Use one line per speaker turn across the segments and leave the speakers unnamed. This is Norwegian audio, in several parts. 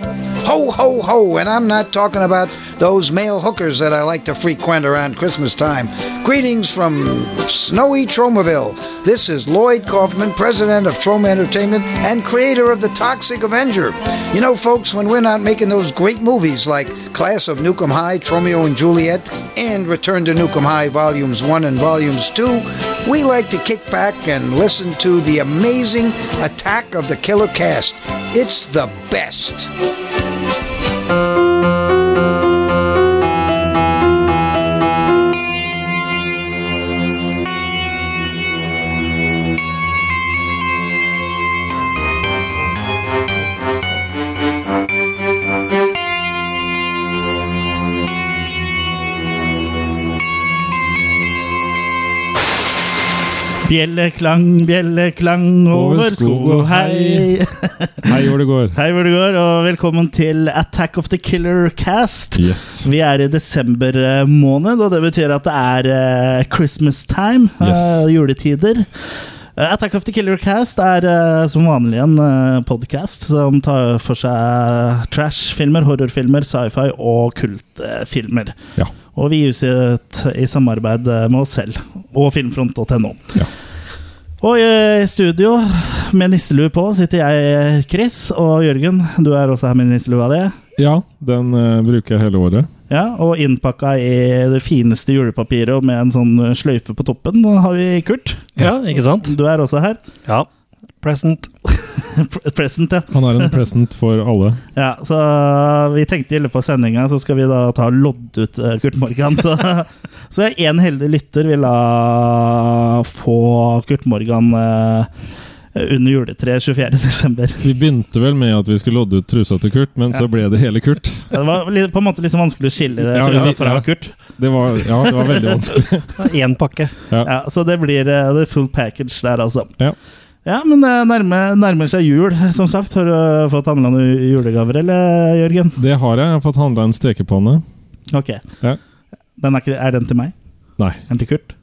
ho, ho, ho. And I'm not talking about those male hookers that I like to frequent around Christmas time. Greetings from snowy Tromaville. This is Lloyd Kaufman, president of Troma Entertainment and creator of The Toxic Avenger. You know, folks, when we're not making those great movies like Class of Newcomb High, Tromeo and Juliet, and Return to Newcomb High Volumes 1 and Volumes 2, we like to kick back and listen to the amazing Attack of the Killer Cast. It's the best.
Bjelleklang, bjelleklang over skog og hei.
Hei, hvor det går.
Hei hvor det går, og velkommen til Attack of the Killer Cast.
Yes.
Vi er i desember eh, måned, og det betyr at det er eh, Christmas time, eh,
Yes.
juletider. Eh, Attack of the Killer Cast er eh, som vanlig en uh, podkast som tar for seg trash-filmer, horrorfilmer, sci-fi og kultfilmer.
Ja.
og vi gis ut i samarbeid med oss selv og filmfront.no.
Ja.
Og i studio med nisselue på sitter jeg, Chris, og Jørgen. Du er også her med nisselua di.
ja, den eh, bruker jeg hele året.
Ja, og innpakka i det fineste julepapiret og med en sånn sløyfe på toppen har vi Kurt.
Ja, ikke sant?
Du er også her.
Ja. Present.
Pre- Present, ja.
Han er en present for alle.
ja. Så vi tenkte i løpet av sendinga så skal vi da ta lodd ut eh, Kurt Morgan. Så, så en heldig lytter vil da få Kurt Morgan eh, under juletreet 24.12.
Vi begynte vel med at vi skulle lodde ut trusa til Kurt, men så ble det hele Kurt.
Ja, Det var litt- på en måte liksom vanskelig å skille det
Ja,
trusa
ja,
fra
ja.
Kurt.
Det var, ja, det var veldig vanskelig.
Én pakke.
Ja, så det blir eh, the full package der, altså.
Ja.
Ja, men det nærmer, nærmer seg jul, som sagt. Har du eh, fått handla noen julegaver, eller, Jørgen?
Det har jeg. Jeg har fått handla en stekepanne.
Ok.
Ja.
Den er, ikke, er den til meg?
Nei.
Er den til Kurt?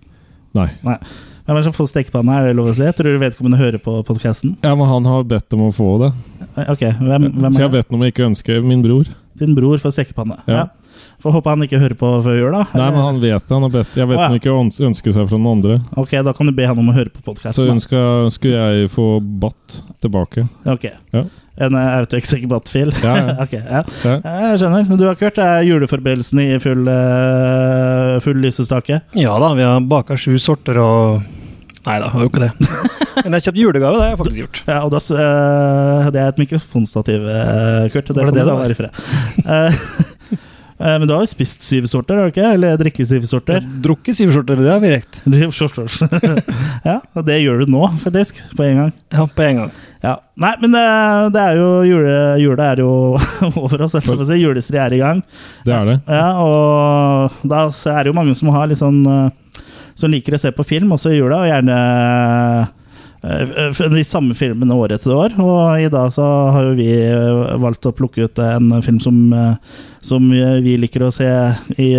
Nei.
Hvem er det som får stekepanne? Er det lov å si? Jeg tror vedkommende hører på podkasten.
Ja, men han har bedt om å få det.
Ok, hvem, hvem
så jeg
er
har
det?
bedt om å ikke ønske min bror.
Din bror får stekepanne.
Ja.
Får håpe han ikke hører på før jul, da.
Nei, men han vet det. Han har bedt. Jeg vet
Å, ja.
han ikke å øns- ønske seg fra noen andre.
Ok, da kan du be han om å høre på
Så
podkasten.
ønska, skulle jeg få batt tilbake.
Ok.
Ja.
En autoexecubat-fil.
Ja, ja.
ok, ja.
Ja.
Ja, Jeg skjønner. Men Du har Kurt, er juleforberedelsene i full, eh, full lysestake?
Ja da, vi har baka sju sorter og Nei da, har jo ikke det. Men jeg har kjøpt julegave, det har jeg faktisk gjort.
Ja, og da, s- eh, det er et mikrofonstativ, eh, Kurt. Det
Var
kan
det
du la
det det var?
være i fred. Eh, eh, Men du har jo spist syv sorter, har du ikke? Eller drikke syv sorter?
Drukket syv skjorter, det har vi rekt.
ja, og det gjør du nå, faktisk. På en gang.
Ja, på en gang.
Ja. Nei, men eh, det, det er jo jule, Jula er jo over oss, jeg skal si. Julestria er i gang.
Det er det.
Ja, og da så er det jo mange som har litt sånn eh, Som liker å se på film også i jula, og gjerne eh, f- de samme filmene år etter år. Og i dag så har jo vi eh, valgt å plukke ut en film som, eh, som vi liker å se i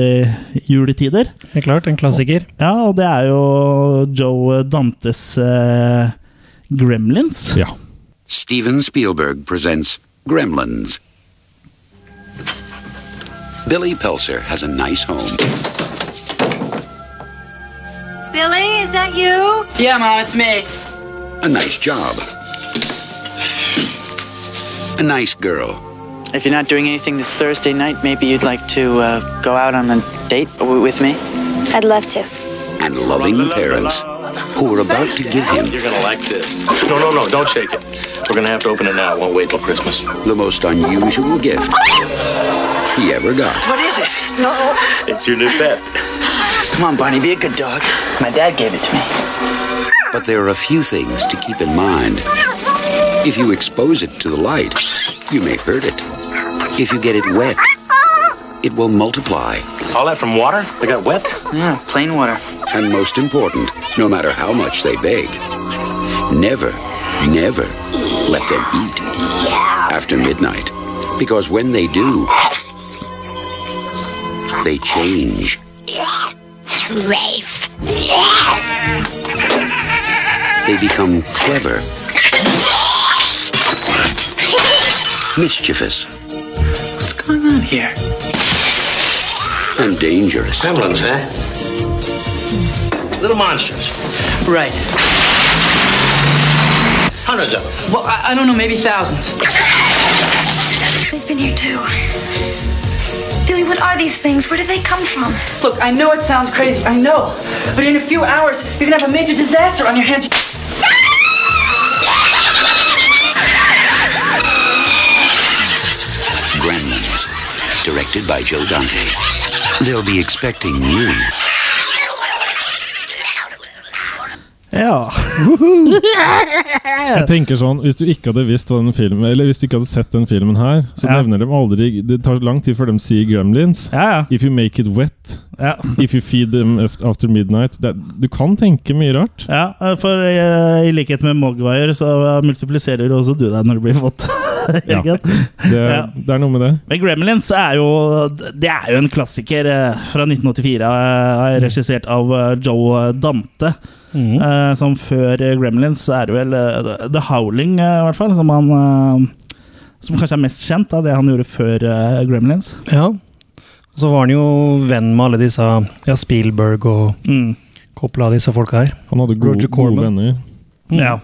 juletider.
Det er klart, en klassiker.
Ja, og det er jo Joe Dantes eh, Gremlins.
Ja.
Steven Spielberg presents Gremlins. Billy Pelser has a nice home,
Billy, is that you?
Yeah, Mom, it's me.
a nice job, a nice girl,
If you're not doing anything this Thursday night, maybe you'd like to uh, go out on a date w- with me?
I'd love to.
and loving parents who are about to give him
You're gonna like this. No, no, no, don't shake it. We're gonna have to open it now. It won't wait till Christmas.
the most unusual gift he ever got.
What is it?
It's your new pet.
Come on, Barney, be a good dog. My dad gave it to me.
But there are a few things to keep in mind. If you expose it to the light, you may hurt it. If you get it wet, it will multiply.
All that from water? They got wet?
Yeah, plain water.
And most important, no matter how much they beg, never, never let them eat after midnight. Because when they do, they change. They become clever, mischievous,
going on here?
and dangerous.
Gremlins, huh? Little monsters.
Right.
Hundreds of them.
Well, I, I don't know, maybe thousands.
They've been here too. Billy, what are these things? Where do they come from?
Look, I know it sounds crazy, I know. But in a few hours, you're gonna have a major disaster on your hands.
Gremlins, directed by Joe Dante. They'll be expecting you.
Ja.
Jeg tenker sånn, Hvis du ikke hadde visst hva den filmen, eller hvis du ikke hadde sett den filmen her, så
Ja.
nevner de aldri Det tar lang tid før de sier Gremlins.
Ja, ja.
If you make it wet,
ja.
if you feed them af- after midnight det, er- Du kan tenke mye rart.
ja for eh, i likhet med Mogwire, så multipliserer jo også du deg når du blir våt.
Ja.
Jørgen.
Det,
Ja.
det er noe med det.
Men Gremlins er jo Det er jo en klassiker eh, fra 1984, eh, regissert av eh, Joe Dante. eh, Som før eh, Gremlins er det vel eh, The Howling, eh, i hvert fall, som han eh, Som kanskje er mest kjent av det han gjorde før eh, Gremlins.
Ja. Og så var han jo venn med alle disse ja, Spielberg og
Mm.
Coppola og disse folka her.
Han hadde gode,
Roger
gode
Corman.
venner.
Ja.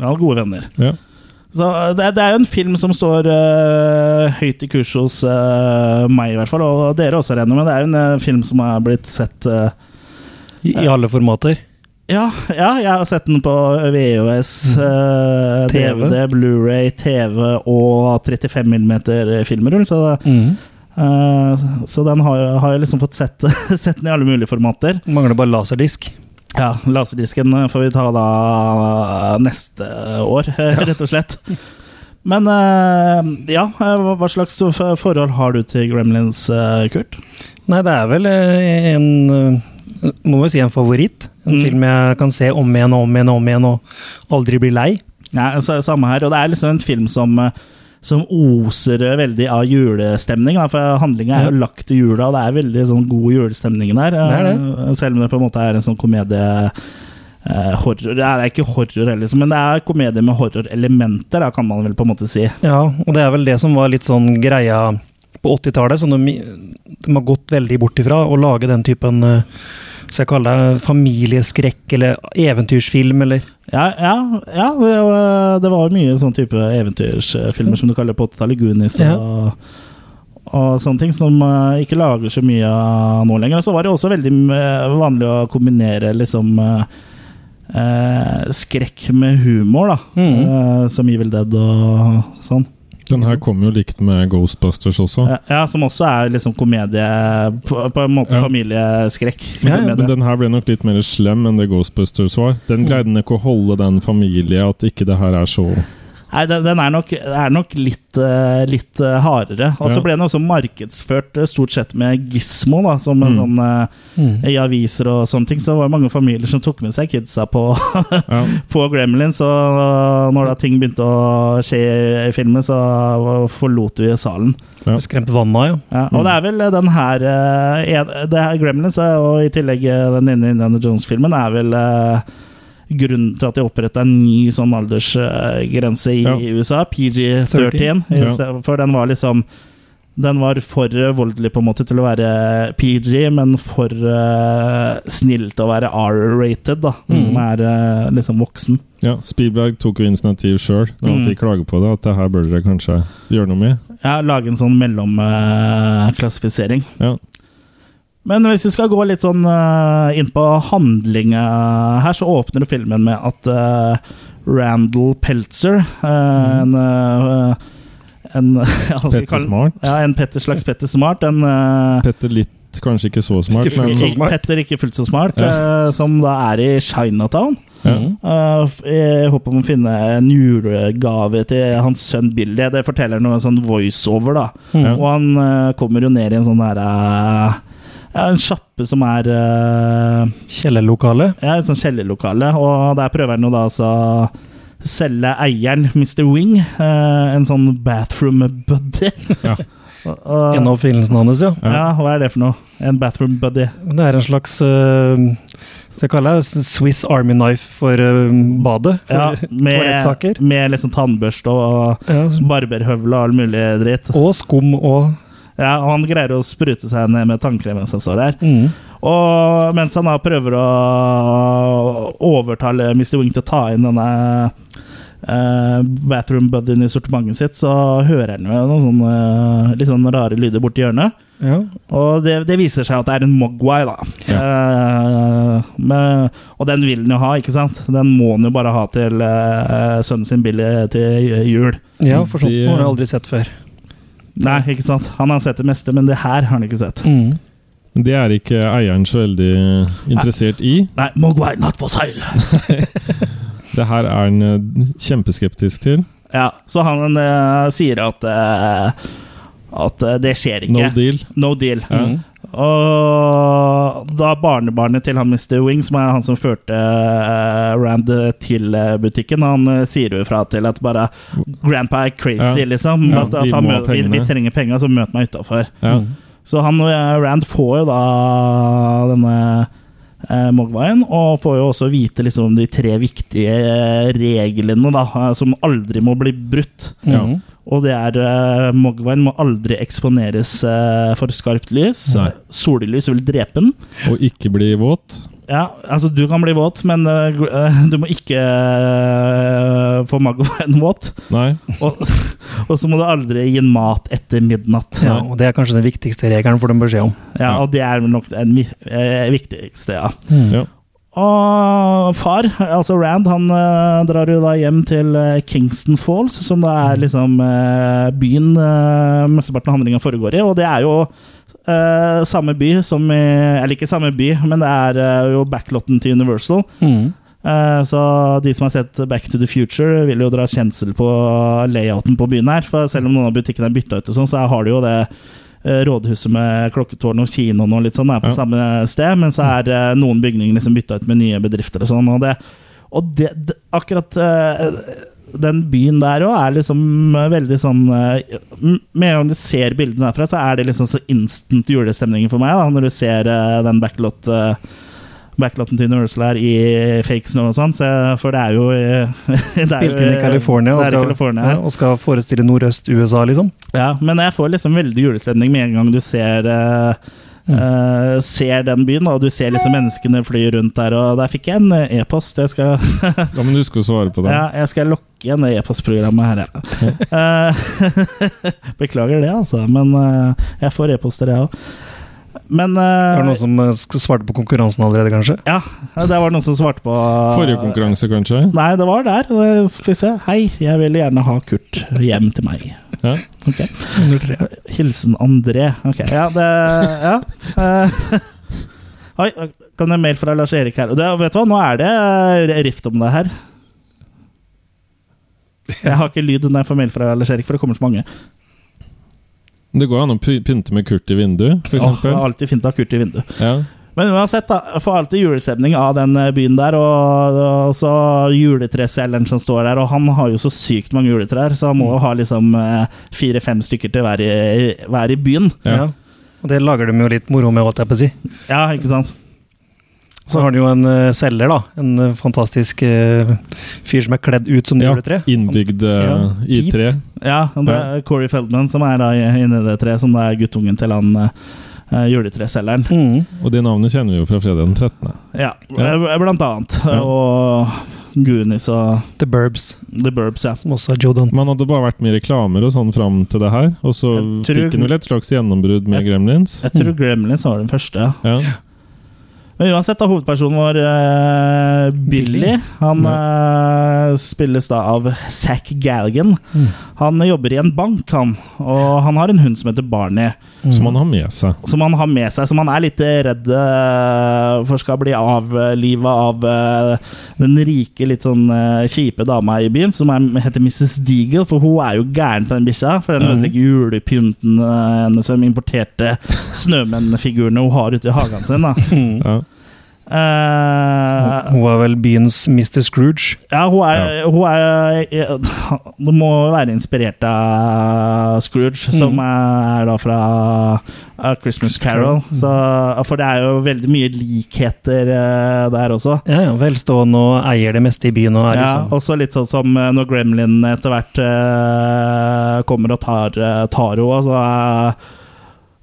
Ja, gode venner.
Ja.
Så eh, det, er- det er jo en film som står eh, høyt i kurs hos eh, meg, i hvert fall, og dere også, regner jeg med. Det er jo en eh, film som er blitt sett eh,
I, i alle formater.
Ja, ja, jeg har sett den på VHS, eh,
TV.
DVD, Blu-ray, TV og 35 mm filmrull. Så,
Mm.
eh, så den har, jeg- har jeg liksom fått sett, sett den i alle mulige formater.
Mangler bare laserdisk.
Ja, Laserdisken får vi ta da neste år, eh, rett og slett. Men eh, ja, eh, hva hva slags for- forhold har du til Gremlins, eh, Kurt?
Nei, det er vel eh, en eh, Må jo si en favoritt. En
Mm.
film jeg kan se om igjen og om igjen og om igjen og aldri bli lei.
Nei, så, samme her. Og det er liksom en film som, eh, som oser eh, veldig av julestemning. Da, for handlinga er jo
Ja.
lagt til jula, og det er veldig sånn, god julestemning der. eh,
Det
Selv om det på en måte er en sånn komedie eh, horror. Det er ikke horror heller, liksom, men det er komedie med horrorelementer, da, kan man vel på en måte si.
Ja, og det er vel det som var litt sånn greia på 80-tallet, som de, de har gått veldig bort ifra, å lage den typen eh, skal jeg kalle det familieskrekk eller eventyrsfilm, eller
Ja, ja, ja det, var, det var mye sånn type eventyrsfilmer som du kaller på 80-tallet, Goonies og, og sånne ting, som eh, ikke lager så mye av nå lenger. Og så var det også veldig eh, vanlig å kombinere liksom eh, eh, skrekk med humor, da. Eh, som Evil Dead og sånn.
Den her kom jo likt med Ghostbusters også.
Ja, ja, som også er liksom komedie På, på en måte
Ja.
familieskrekk.
Men,
Ja, ja,
den- men den her ble nok litt mer slem enn det Ghostbusters var. Den
Mm.
greide den ikke å holde den familie at ikke det her er så
Nei, den, den er nok, er nok litt, eh, litt eh, hardere. Og så
Ja.
ble den også markedsført eh, stort sett med Gismo, da, som en sånn eh, i aviser og sånne ting. Så det var mange familier som tok med seg kidsa på,
ja.
på Gremlins. Og når da ting begynte å skje i filmen, så eh, forlot vi salen.
Ja.
skremt vannet av, ja.
Ja, og det er vel den her, eh, en- det her Gremlins, eh, og i tillegg eh, den ene Indiana Jones-filmen, er vel eh, grunnen til at de oppretta en ny sånn aldersgrense eh, i
Ja.
USA, PG-13. i
Ja.
stedet- For den var liksom Den var for eh, voldelig på en måte til å være PG, men for eh, snill til å være R-rated, da.
Mm.
Som er eh, liksom voksen.
ja. Spielberg tok jo initiativ sjøl når han
Mm.
fikk klage på det, at det her burde dere kanskje gjøre noe med.
Ja, lage en sånn eh, mellomklassifisering.
Ja.
Men hvis vi skal gå litt sånn eh, inn på handling eh, her, så åpner filmen med at eh, Randall Peltzer, eh, en, eh, en ja, hva skal vi
Petter
kalle den?
Smart.
Ja, en Petter slags Petter Smart. En eh,
Petter litt kanskje ikke så smart,
Ikke
men
fullt så smart.
Petter ikke fullt så smart, eh, som da er i Chinatown.
Ja.
Eh, f- I håp om å finne en julegave til hans sønn Billy. Det forteller noe sånn voiceover, da.
Ja.
Og han eh, kommer jo ned i en sånn derre ja, En sjappe som er eh,
Kjellerlokale.
ja, et sånt kjellerlokale, og der prøver han jo da altså å selge eieren, Mr. Wing, eh, en sånn bathroom buddy.
Ja.
Og- og-
En av oppfinnelsene hans, ja.
ja, hva er det for noe? En bathroom buddy.
Det er en slags eh, skal jeg kalle det Swiss Army Knife for eh, badet. For
Ja, med,
toalettsaker.
med liksom tannbørste og
Ja.
barberhøvle og all mulig dritt.
Og skum og
Ja, og han greier å sprute seg ned med tannkrem mens han står der.
Mm.
Og mens han da prøver å overtale Mr. Wing til å ta inn denne eh, bathroom buddyen i sortimentet sitt, så hører han jo noen sånne eh, litt sånn rare lyder borti hjørnet.
Ja.
Og det, det viser seg at det er en Mogwai, da. Eh, men- og den vil han jo ha, ikke sant? Den må han jo bare ha til eh, sønnen sin Billy til jul.
ja, for sånt
Det-
har jeg aldri sett før.
Nei, ikke sant? Han har sett det meste, men det her har han ikke sett.
Mm.
Men det er ikke eieren så veldig interessert i.
Nei, Mogwai, not for sale!
Det her er han eh, kjempeskeptisk til.
Ja, så han eh, sier at eh, At eh, det skjer ikke.
No deal.
No deal.
Ja.
Mm.
Og da barnebarnet til han Mr. Wing, som er han som førte eh, Rand til eh, butikken, han eh, sier jo ifra til at bare Grandpa er crazy,
Ja.
liksom.
Ja,
at, at
vi
han
må ha
mø- vi, vi
pengene.
trenger penga, så møt meg utafor.
Ja.
Så han og eh, Rand får jo da denne eh, Mogwaien, og får jo også vite liksom de tre viktige eh, reglene da, eh, som aldri må bli brutt.
Ja.
Mhm.
Og det er eh, Mogwaien må aldri eksponeres eh, for skarpt lys.
Nei.
Sollys vil drepe den.
Og ikke bli våt.
Ja, altså du kan bli våt, men eh, gr- eh, du må ikke eh, få Mogwaien våt.
Nei.
Og, og så må du aldri gi den mat etter midnatt.
ja, og det er kanskje den viktigste regelen for den beskjed om.
Ja, og det er vel nok den vi- eh, viktigste, ja.
Ja.
Og far, altså Rand, han eh, drar jo da hjem til eh, Kingston Falls, som da er liksom eh, byen eh, mesteparten av handlinga foregår i. Og det er jo eh, samme by som i Eller ikke samme by, men det er eh, jo backlotten til Universal.
Mm.
Eh, så de som har sett Back to the Future, vil jo dra kjensel på layouten på byen her. For selv om noen av butikkene er bytta ut, og sånn, så har de jo det eh, rådhuset med klokketårn og kinoen og litt sånn er på
Ja.
samme sted, men så er eh, noen bygninger liksom bytta ut med nye bedrifter og sånn. Og det, og det, det akkurat eh, den byen der òg er liksom eh, veldig sånn eh, m- Med en gang du ser bildene derfra, så er det liksom så instant julestemning for meg, da, når du ser eh, den backlot eh, backlotten til Universal her i fake snow og sånn, så- for det er jo eh,
Spilt inn i California og
Det er i
skal,
California
ja,
her.
og skal forestille Nordøst-USA, liksom.
Ja, men jeg får liksom veldig julestemning med en gang du ser eh, eh, ser den byen, og du ser liksom menneskene fly rundt der. Og der fikk jeg en eh, e-post. Jeg skal
Da må du huske å svare på den.
ja, jeg skal lokke igjen det e-postprogrammet her, ja. Eh, Beklager det, altså, men eh, jeg får e-poster, jeg òg. Men eh,
Er det noen som eh, sk- svarte på konkurransen allerede, kanskje?
Ja, det var noen som svarte på
Forrige konkurranse, kanskje?
Nei, det var der. Eh, Skal vi se. Hei, jeg vil gjerne ha Kurt hjem til meg.
Ja.
Ok. Hilsen André. Ok, ja, det Ja. Eh, Oi, kom det en mail fra Lars Erik her. Og Det, vet du hva, nå er det eh, rift om det her. Jeg har ikke lyd når jeg får mail fra Lars Erik, for det kommer så mange.
Det går an å py- pynte med Kurt i vinduet, for
Åh, det er
eksempel.
alltid fint å ha Kurt i vinduet.
Ja.
Men uansett, da. Får alltid julestemning av den eh, byen der. Og, og så juletreselgeren som står der, og han har jo så sykt mange juletrær, så han må jo ha liksom fire-fem stykker til hver i, hver i byen.
Ja.
Og det lager de jo litt moro med, holdt jeg på å si.
Ja, ikke sant?
Så har de jo en eh, selger, da. En eh, fantastisk eh, fyr som er kledd ut som det
ja.
juletre.
Innbygd
Ja.
eh, i tre.
Ja, og det er Corey Feldman som er da inni det treet, som da er guttungen til han eh, juletreselgeren.
Mm.
Og det navnet kjenner vi jo fra fredag den 13.
Ja,
Ja.
eh, blant annet.
Ja.
Og Goonies og
The Burbs,
The Burbs, ja.
som også er Joe Dante.
Man hadde bare vært med i reklamer og sånn fram til det her, og så
Jeg tror-
fikk han vel et slags gjennombrudd med Gremlins.
Jeg tror Gremlins var den første. ja.
Ja.
Men uansett, da, hovedpersonen vår, eh, Billy, han eh, spilles da av Zack Galligan. Han jobber i en bank, han. Og han har en hund som heter Barney,
Som han har med seg.
som han har med seg. Som han er litt redd eh, for skal bli avliva av eh, den rike, litt sånn eh, kjipe dama i byen, som er, heter Mrs. Deagle. For hun er jo gæren på den bikkja, for den ødelegger julepynten eh, hennes og de importerte snømennfigurene hun har ute i hagen sin. da
Ja.
Eh,
Hun var vel byens Mr. Scrooge.
ja, hun er, hun er Du må jo være inspirert av Scrooge, som er da fra A Christmas Carol. Så, for det er jo veldig mye likheter eh, der også.
Ja, ja, Velstående og eier det meste i byen. Og er
Ja,
liksom.
også litt sånn som eh, når Gremlin etter hvert eh, kommer og tar, eh, tar henne. Så, eh,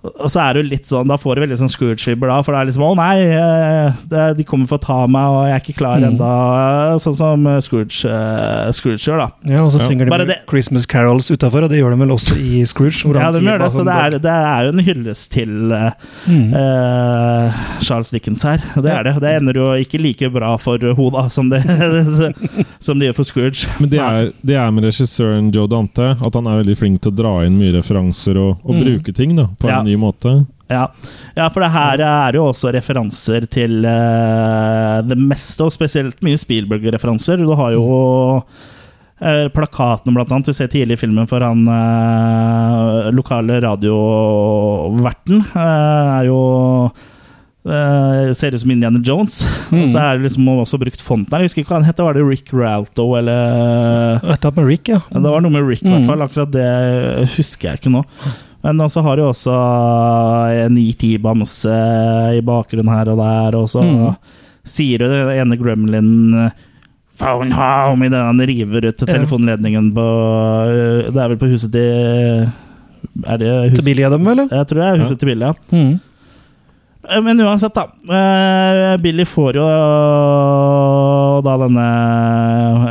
Og så er det jo litt sånn, da får du veldig sånn Scrooge-fibber, da. For det er liksom 'Å nei, eh, det, de kommer for å ta meg, og jeg er ikke klar ennå'. Sånn som eh, Scrooge, eh, Scrooge gjør, da.
Ja, og så
Ja.
synger de
Bare
vel
det-
Christmas carols utafor, og det gjør de vel også i Scrooge. hvor han
Ja, de
sier
gjør det,
bare
så
sånn
det er,
der-
det er jo en hyllest til eh,
Mm.
eh, Charles Dickens her. Det er det. Det ender jo ikke like bra for Hoda som det, som det gjør for Scrooge.
Men det er, det er med regissøren Joe Dante at han er veldig flink til å dra inn mye referanser og, og bruke ting da, på
Mm. Ja.
en ny måte.
Ja. ja, for det her er jo også referanser til eh, det meste, og spesielt mye Spielberg-referanser. Du har jo eh, plakatene, blant annet. Du ser tidlig i filmen for han eh, lokale radioverten. eh, er jo eh, ser ut som Indiana Jones. Og Så er det liksom også brukt fonten her. Jeg husker ikke hva han heter. Var det Rick Ralto, eller
Dette er med Rick, ja.
ja, det var noe med Rick, i
Mm.
hvert fall. Akkurat det husker jeg ikke nå. Men også har de også eh, en IT-bamse i bakgrunnen her og der, og så
Mm.
sier jo den ene eh, gremlin Phone home! Idet han river ut telefonledningen på Det er vel på huset til Er det hus-
Til Billy av dem, eller?
Jeg tror det er huset
Ja.
til Billy, ja.
Mm.
Eh, Men uansett, da. eh, Billy får jo eh, da denne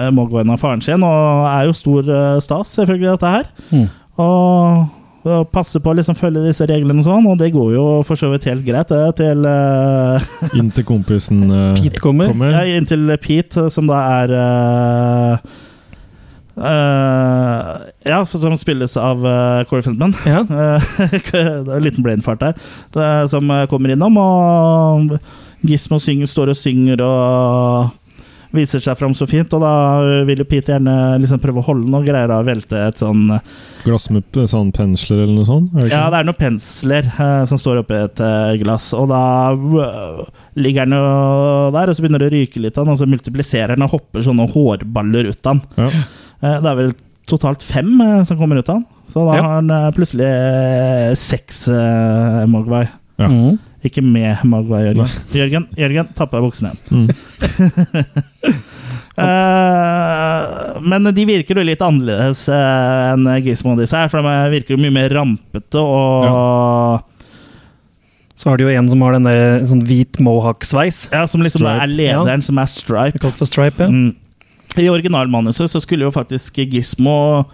eh, Mogwaien av faren sin, og er jo stor eh, stas, selvfølgelig, dette her.
Mm.
Og, og passer på å liksom følge disse reglene og sånn, og det går jo for så vidt helt greit, det, til eh,
Inn til kompisen eh,
Pete kommer.
kommer.
ja, Inntil Pete, som da er eh, eh, Ja, som spilles av eh, Corey Feldman.
Ja.
Eh, det er en liten brainfart der. Det, er- som eh, kommer innom, og Gismo synger, står og synger og viser seg fram så fint. Og da vil jo Pete gjerne liksom prøve å holde den, og greier da å velte et sånn
Glass med p- sånn pensler eller noe sånt. Er det ikke?
Ja, det er noen pensler eh, som står oppi et eh, glass, og da øh, ligger den jo der, og så begynner det å ryke litt av den, og så multipliserer den og hopper sånne hårballer ut av den.
Ja.
Eh, Det er vel totalt fem eh, som kommer ut av den. Så da
Ja.
har han eh, plutselig eh, seks eh, Mogwai.
Ja.
Mm.
Ikke med Mogwai, Jørgen. Jørgen, Jørgen ta på deg buksene igjen.
Mm.
Eh, men de virker jo litt annerledes eh, enn Gizmo og disse her, for de virker jo mye mer rampete og
Så har de jo en som har den der en sånn hvit mohawk-sveis.
Ja, som liksom
Stripe.
er lederen, som er
Det er
Stripe.
Kalt for stripe. ja.
Mm. I originalmanuset så skulle jo faktisk Gizmo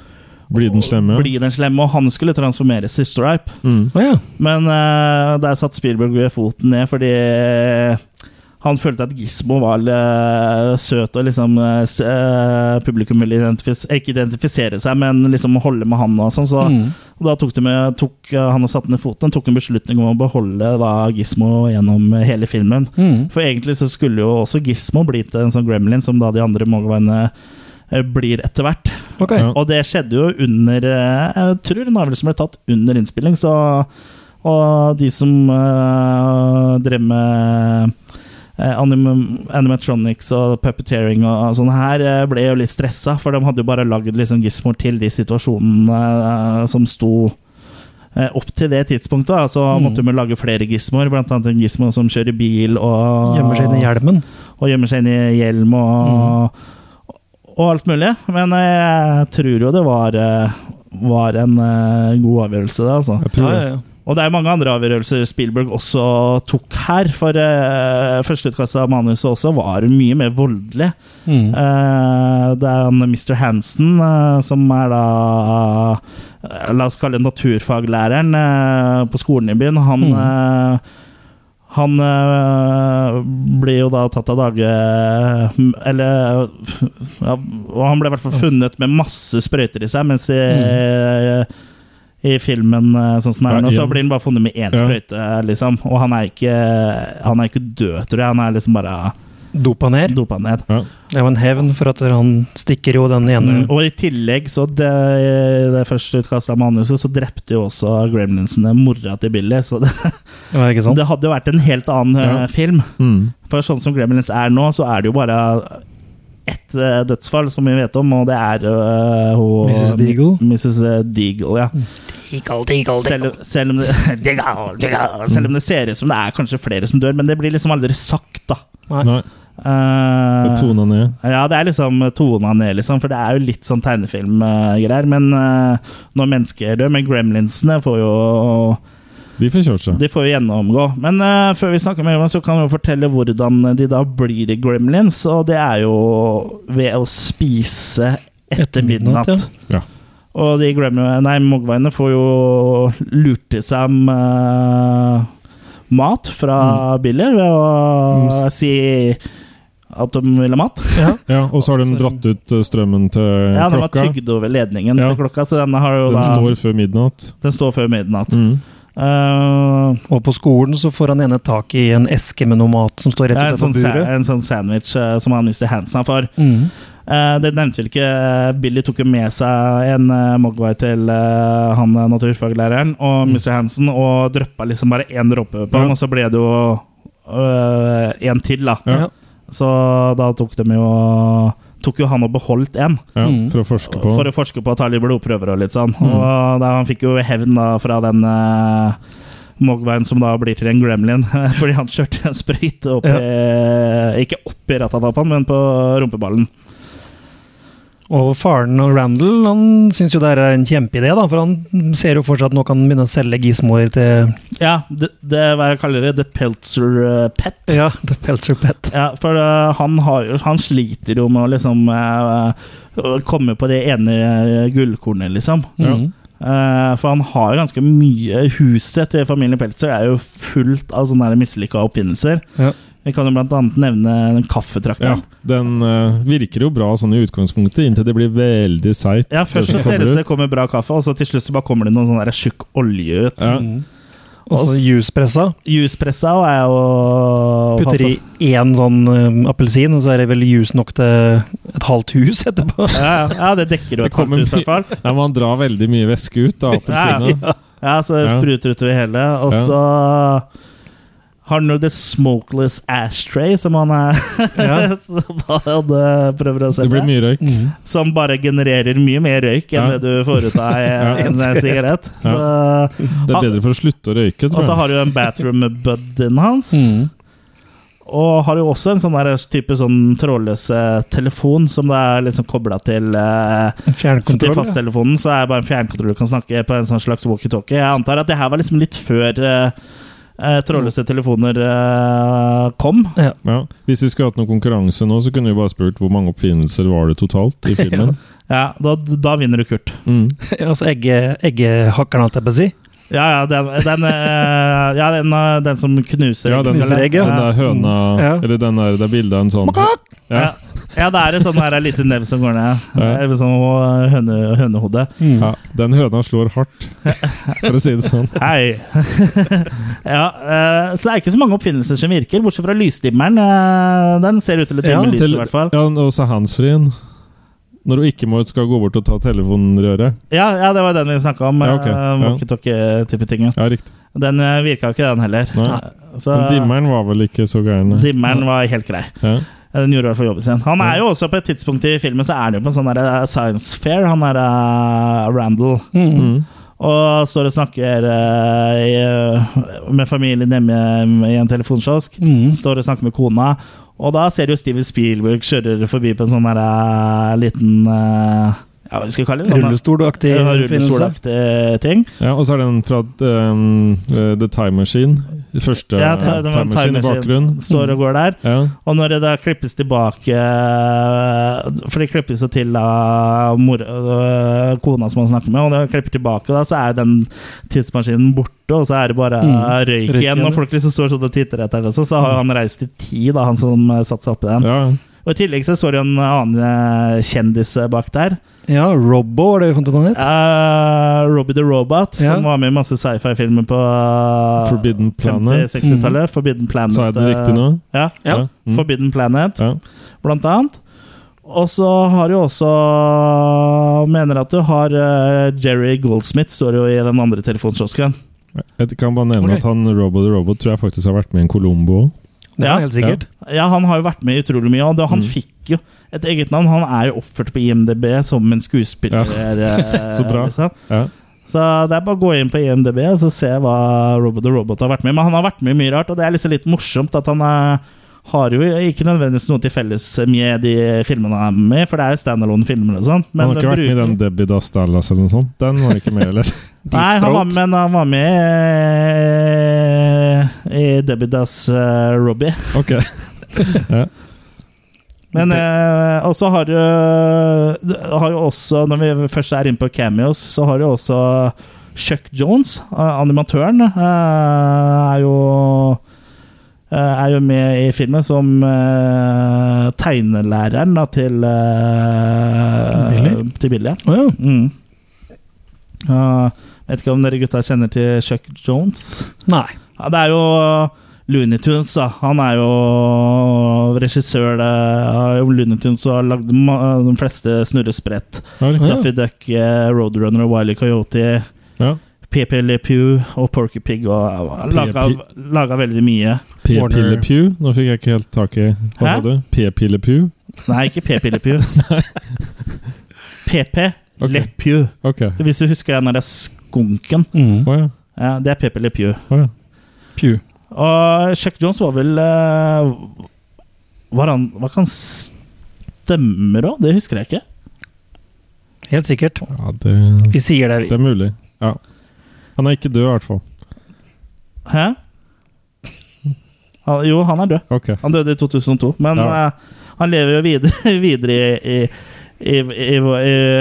Blir den slemme?
bli den slemme, og han skulle transformeres til Stripe.
Mm.
Å ja.
Men eh, der satt Spielberg foten ned fordi eh, han følte at Gizmo var eh, søt og liksom eh, s- eh, Publikum ville identifis eh, ikke identifisere seg, men liksom holde med han og sånn. Så
Mm.
og da tok, de med, tok eh, han og satte ned foten, tok en beslutning om å beholde da Gizmo gjennom eh, hele filmen.
Mm.
For egentlig så skulle jo også Gizmo bli til en sånn gremlin som da de andre Mogwaiene eh, blir etter hvert.
Ok.
Ja.
Og det skjedde jo under eh, Jeg tror en avgjørelse ble tatt under innspilling, så Og de som eh, drev med eh, anim animatronics og puppeteering og, og sånn her, eh, ble jo litt stressa, for de hadde jo bare lagd liksom gismor til de situasjonene eh, som sto eh, opp til det tidspunktet. Da. Så
Mm.
måtte de jo lage flere gismor, blant annet en gismo som kjører bil og
Gjemmer seg inn i hjelmen.
og gjemmer seg inn i hjelm og,
Mm.
og alt mulig. Men eh, jeg tror jo det var, eh, var en eh, god avgjørelse, det, altså.
Jeg tror
Ja,
det.
ja, ja.
Og det er mange andre avgjørelser Spielberg også tok her. For uh, førsteutkastet av manuset også var mye mer voldelig.
Mm.
Eh, det er han Mr. Hansen, eh, som er da eh, La oss kalle det naturfaglæreren eh, på skolen i byen. Han
Mm.
eh, han eh, ble jo da tatt av dage mm, Eller ja, Og han ble i hvert fall funnet med masse sprøyter i seg, mens i, i filmen eh, sånn som det er
Mm. Ja,
nå, så
igjen.
blir han bare funnet med én
Ja.
sprøyte, liksom. Og han er ikke, han er ikke død, tror jeg. Han er liksom bare
Dopa ned.
dopa ned.
Ja.
Det er jo en hevn for at han stikker jo den ene
Mm. Og i tillegg, så det, det første utkastet av manuset, så drepte jo også gremlinsene mora til Billy. Så det,
Ja, ikke sant?
det hadde jo vært en helt annen eh,
Ja.
film.
Mm.
For sånn som Gremlins er nå, så er det jo bare ett eh, dødsfall som vi vet om, og det er eh, hun
Mrs. Deagle?
Mrs. Deagle, ja.
Mm.
Selv, selv, om det, Deagle, Deagle. selv om det ser ut som det er kanskje flere som dør, men det blir liksom aldri sagt, da.
Nei.
Nei,
Eh,
det tona ned.
ja, det er liksom tona ned, liksom, for det er jo litt sånn eh, tegnefilmgreier. Men eh, når mennesker dør Men gremlinsene får jo
De får kjørt seg.
De får jo gjennomgå. Men eh, før vi snakker mer om det, så kan vi jo fortelle hvordan de da blir gremlins. Og det er jo ved å spise etter
Etter midnatt,
midnatt.
Ja.
Og de gremlin, nei, mogwaiene får jo lurt i seg eh, mat fra
Mm.
Billy ved å si at de vil ha mat. Ja,
ja, Og så har de dratt ut eh, strømmen til
Den var
klokka.
tygd over ledningen
Ja.
til klokka, så den, har jo
Den
da,
står før midnatt.
den står før midnatt.
Mm.
Eh,
Og på skolen så får han ene tak i en eske med noe mat som står
det er
rett
en sånn,
utenfor
sa-
buret.
en sånn sandwich eh, som han Mr. Hansen har for.
Mm.
Eh, det nevnte vi ikke. Eh, Billy tok jo med seg en eh, Mogwai til eh, han eh, naturfaglæreren og Mr. Hansen og dryppa liksom bare én dråpe på
Mm. Ja.
ham, og så ble det jo øh, en til, da.
Ja.
Ja.
Så da tok de jo Tok jo han og beholdt en
Ja,
Mm.
For å forske på. Mm.
for å forske på å ta litt blodprøver og litt sånn. Og da, han fikk jo hevn da fra den eh, Mogwaien som da blir til en gremlin, fordi han kjørte en sprøyte opp i Ikke opp i rattatappan, men på rumpeballen.
Og faren og Randall han syns jo det her er en kjempeidé, da, for han ser jo for seg at nå kan han begynne å selge gismoer til
Ja, det, det hva jeg kaller det, The Peltzer eh, Pet. Ja.
ja, The Peltzer Pet.
for eh, han, har, jo- han sliter jo med å liksom eh, å komme på det ene eh, gullkornet, liksom.
Mm.
Eh, for han har jo ganske mye Huset til familien Peltzer er jo fullt av sånne her mislykka oppfinnelser.
Ja.
Vi kan jo blant annet nevne den
Ja,
kaffetrakteren. Ja.
Den eh, virker jo bra sånn i utgangspunktet, inntil det blir veldig seigt.
Først så
det som
ser det ut
kommer
som det kommer bra kaffe, og så til slutt så bare kommer det noen sånn der tjukk olje ut.
Ja.
Mm. Og så juicepressa.
Juicepressa er jo
Putter i én sånn eh, appelsin, og så er det vel juice nok til et halvt hus etterpå.
Ja, ja, ja, det dekker jo et
Det
halvt
kommer
hus, i hvert fall.
Nei, Man drar veldig mye væske ut av appelsinen.
Ja, så det
Ja.
spruter utover hele. Og
Ja.
så har han jo The Smokeless Ashtray, som han er
Ja.
Som han eh, prøver å
Det blir
selge.
mye røyk.
Som bare genererer mye mer røyk enn
Ja.
det du får ut av
Ja.
en eh, sigarett. Så,
Det er bedre for å slutte å røyke,
og
tror
så
jeg.
har du en bathroom buddyen hans.
Mm.
Og har jo også en sånn der type sånn trådløs eh, telefon som det er liksom kobla til eh, til
Fjernkontroll. ja.
fasttelefonen så er det bare en fjernkontroll du kan snakke på en sånn slags walkietalkie. Jeg antar at det her var liksom litt før eh, eh, trådløse telefoner eh, kom.
Ja. Hvis vi skulle hatt noen konkurranse nå, så kunne vi bare spurt hvor mange oppfinnelser var det totalt i filmen.
Ja, da, da vinner du, Kurt.
Mm.
Altså egge, eggehakkeren, holdt jeg på å si.
Ja, ja, den, den, eh, ja, den, eh, den som knuser
Ja, den, den
skal jeg-
egg, ja.
der høna
Mm.
Ja.
Eller den der, det er bilde av en sånn
Ja.
ja.
ja, det er en sånn her liten nebb som går ned.
Ja.
Eller sånn eh, høne, hønehode.
ja, Den høna slår hardt, for å si det sånn.
Hei! ja, eh, så det er ikke så mange oppfinnelser som virker, bortsett fra lysdimmeren. eh, den ser ut til å
Ja,
dimme lyset,
Til-
i hvert fall.
Ja, og så handsfree-en. Når du ikke må skal gå bort og ta telefonrøret.
Ja, ja, det var den vi snakka om.
Ja, ok.
eh,
Ja.
Walkietalkie-type tingen.
Ja, riktig.
Den eh, virka jo ikke, den heller.
Nei.
Så
Men dimmeren var vel ikke så gæren? nei.
dimmeren var helt grei. Eh,
Ja.
Den gjorde i hvert fall jobben sin. Han er jo også på et tidspunkt i filmen Så er han jo på en sånn der, eh, science fair, han er eh, Randall.
Mm.
Og står og snakker eh, i, eh, med familien hjemme i en telefonkiosk.
Mm.
Står og snakker med kona. Og da ser du Steven Spielberg kjører forbi på en sånn der, eh, liten eh, Ja, hva skal vi kalle det? Sånn, eh,
Rullestolaktig
ja,
oppfinnelse.
Rullestolaktig eh, ting.
Ja, og så er den fra um, uh, The Time Machine. Første
Ja,
uh,
ta- det var
Time
en
Machine i
timer
bakgrunnen.
siden. Står og går der.
Ja.
Og når det da klippes tilbake For det klippes jo til av mor, øh, kona som han snakker med, og når det klipper tilbake, da, så er den tidsmaskinen borte, og så er det bare
Mm.
øh, røyk
Røyk
igjen.
igjen,
Og folk liksom står sånn og titter etter det, så, så har jo han reist i tid, da, han som øh, satte seg oppi den.
ja.
Og i tillegg så står det jo en annen øh, kjendis øh, bak der.
Ja, Robbo var det vi fant ut han het.
Eh, Robbie the Robot,
Ja.
som var med i masse sci-fi-filmer på øh,
Forbidden Planet. Mm.
50-60-tallet. Forbidden Planet.
Sa jeg det
øh,
riktig nå?
Ja.
Ja.
Mm.
Forbidden Planet,
Ja.
blant annet. Og så har du også Mener at du har eh, Jerry Goldsmith, står jo i den andre telefonkiosken.
Jeg kan bare nevne
Ok.
at han Robo the Robot tror jeg faktisk har vært med i en Colombo.
Det
Ja.
var helt sikkert.
Ja, han har jo vært med i utrolig mye, og det, han
Mm.
fikk jo et eget navn. Han er jo oppført på IMDb som en skuespiller. eh,
Så bra.
liksom.
Ja.
Så det er bare å gå inn på IMDb og så se hva Robo the Robot har vært med i. Men han har vært med i mye rart, og det er liksom litt morsomt at han eh, har jo ikke nødvendigvis noe til felles med de filmene han er med i, for det er jo standalone-filmer og sånn.
Han har ikke vært med i den Debbie Does Dallas eller noe sånt? Den var ikke med, eller?
Nei, han var, men han var med eh, i Debbie Does eh, Robbie.
Ok. Ja.
Men eh, også har du eh, har jo også, Når vi først er inne på cameos, så har du også Chuck Jones, eh, animatøren, eh, er jo eh, er jo med i filmen som eh, tegnelæreren da, til eh,
Billy?
Til Billy ja.
Å ja.
mm. Eh, vet ikke om dere gutta kjenner til Chuck Jones?
Nei.
Ja, det er jo Looney Tunes, da. Han er jo regissør det, av Looney Tunes og har lagd ma- de fleste snurresprett.
Ja, riktig.
Daffy Duck, eh, Roadrunner og Wiley Coyote.
Ja.
PP Le Pew og Porky Pig og han laga, laga veldig mye.
Warner-
P-pillepew? Nå fikk jeg ikke helt tak i Hva
Hæ?
sa du? P-pillepew?
Nei, ikke PP Le Pew. PP
Ok.
Le Pew.
Ok.
Hvis du husker den der skunken.
Mm.
Å ja.
Ja, det er PP Le Pew.
Å ja.
Pew.
Og Chuck Jones var vel eh, Var han Hva kan stemmer òg? Det husker jeg ikke.
Helt sikkert.
ja det,
Vi sier det,
det er mulig. Ja. Han er ikke død, i hvert fall.
Hæ? Han, jo, han er død.
Ok.
Han døde i 2002, men
Ja.
eh, han lever jo videre, videre i, i i, i, vår- i,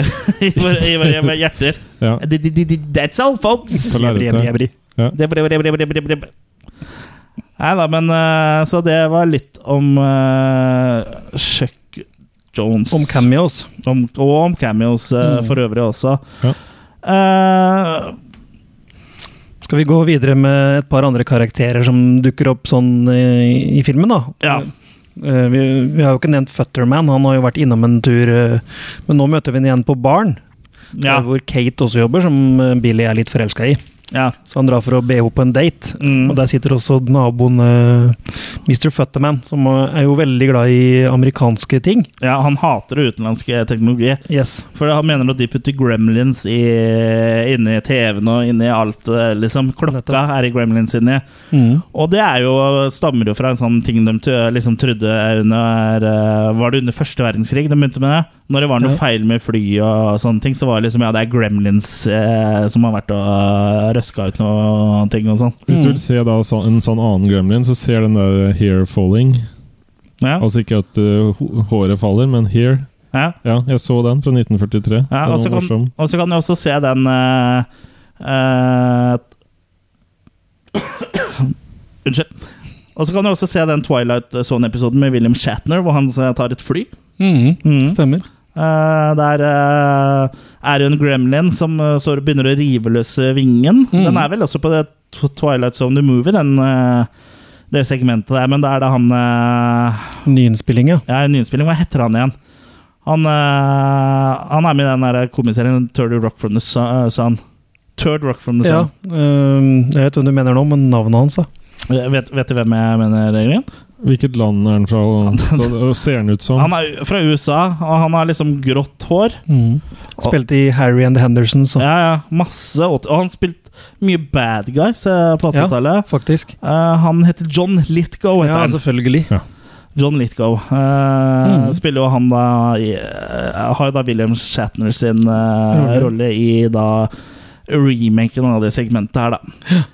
i, vår- i våre våre hjerter.
Ja.
D- d- d- d- That's all, folks!
På
vi.
lerretet.
Jebri, jebri, jebri.
Det ble, ble, ble, ble, ble, ble. Nei da, men eh, Så det var litt om eh, Chuck Jones.
Om cameos.
om, og om cameos eh,
Mm.
for øvrig også.
Ja.
Eh,
Skal vi gå videre med et par andre karakterer som dukker opp sånn eh, i filmen, da?
ja.
Eh, Vi, vi har jo ikke nevnt Futterman, han har jo vært innom en tur. eh, Men nå møter vi han igjen på baren,
ja,
eh, hvor Kate også jobber, som eh, Billy er litt forelska i.
ja.
Så han drar for å be henne på en date.
Mm.
Og der sitter også naboen eh, Mr. Futterman, som eh, er jo veldig glad i amerikanske ting.
ja, han hater utenlandsk eh, teknologi.
Yes.
For han mener at de putter gremlins i, inni TV-en og inni alt. eh, Liksom. Klokka
Nettopp.
er i gremlins inni.
Mm.
Og det er jo, stammer jo fra en sånn ting de tø- liksom trodde er under eh, Var det under første verdenskrig de begynte med det? Når det var noe
Ja.
feil med fly og sånne ting, så var det liksom ja, det er gremlins eh, som har vært og røska ut noe ting og sånn.
Hvis du
Mm.
vil se da, så, en sånn annen gremlin, så ser den der hair falling.
Ja.
Altså ikke at uh, ho- håret faller, men hair.
Ja.
Ja, jeg så den fra 1943.
Ja, altså,
den
og så
var morsom.
kan, og så kan du også se den eh, eh, Unnskyld. Og så kan du også se den Twilight Zone-episoden med William Shatner, hvor han eh, tar et fly. Mm.
Stemmer.
Eh, der eh, er det en gremlin som eh, så begynner å rive løs eh, vingen.
Mm.
Den er vel også på det Tw- Twilight Zone The Movie, den, eh, det segmentet der. Men da er det han eh,
Nyinnspilling, ja.
ja, en nyinnspilling. Hva heter han igjen? Han, eh, han er med i den der komiserien Turd Rock from the Su- eh, Sun. Turd Rock from the
ja.
Sun.
eh, jeg vet hvem du mener nå, men navnet hans,
Eh,
da.
Vet, vet du hvem jeg mener, Jørgen?
Hvilket land er den fra? Og, så, og ser den ut som?
Han er fra USA, og han har liksom grått hår.
Mm. Spilte i Harry and the Hendersons, så-
Ja, ja, masse. åt- Og han spilte mye bad guys eh, på
Ja.
80-tallet.
faktisk.
Eh, han heter John Litgo, heter
Ja,
han.
altså, selvfølgelig.
John Litgo. Eh,
Mm.
Mhm.
Spiller jo han da i, eh, Har jo da William Shatner sin eh,
Rolle.
rolle i da remaken av det segmentet her, da.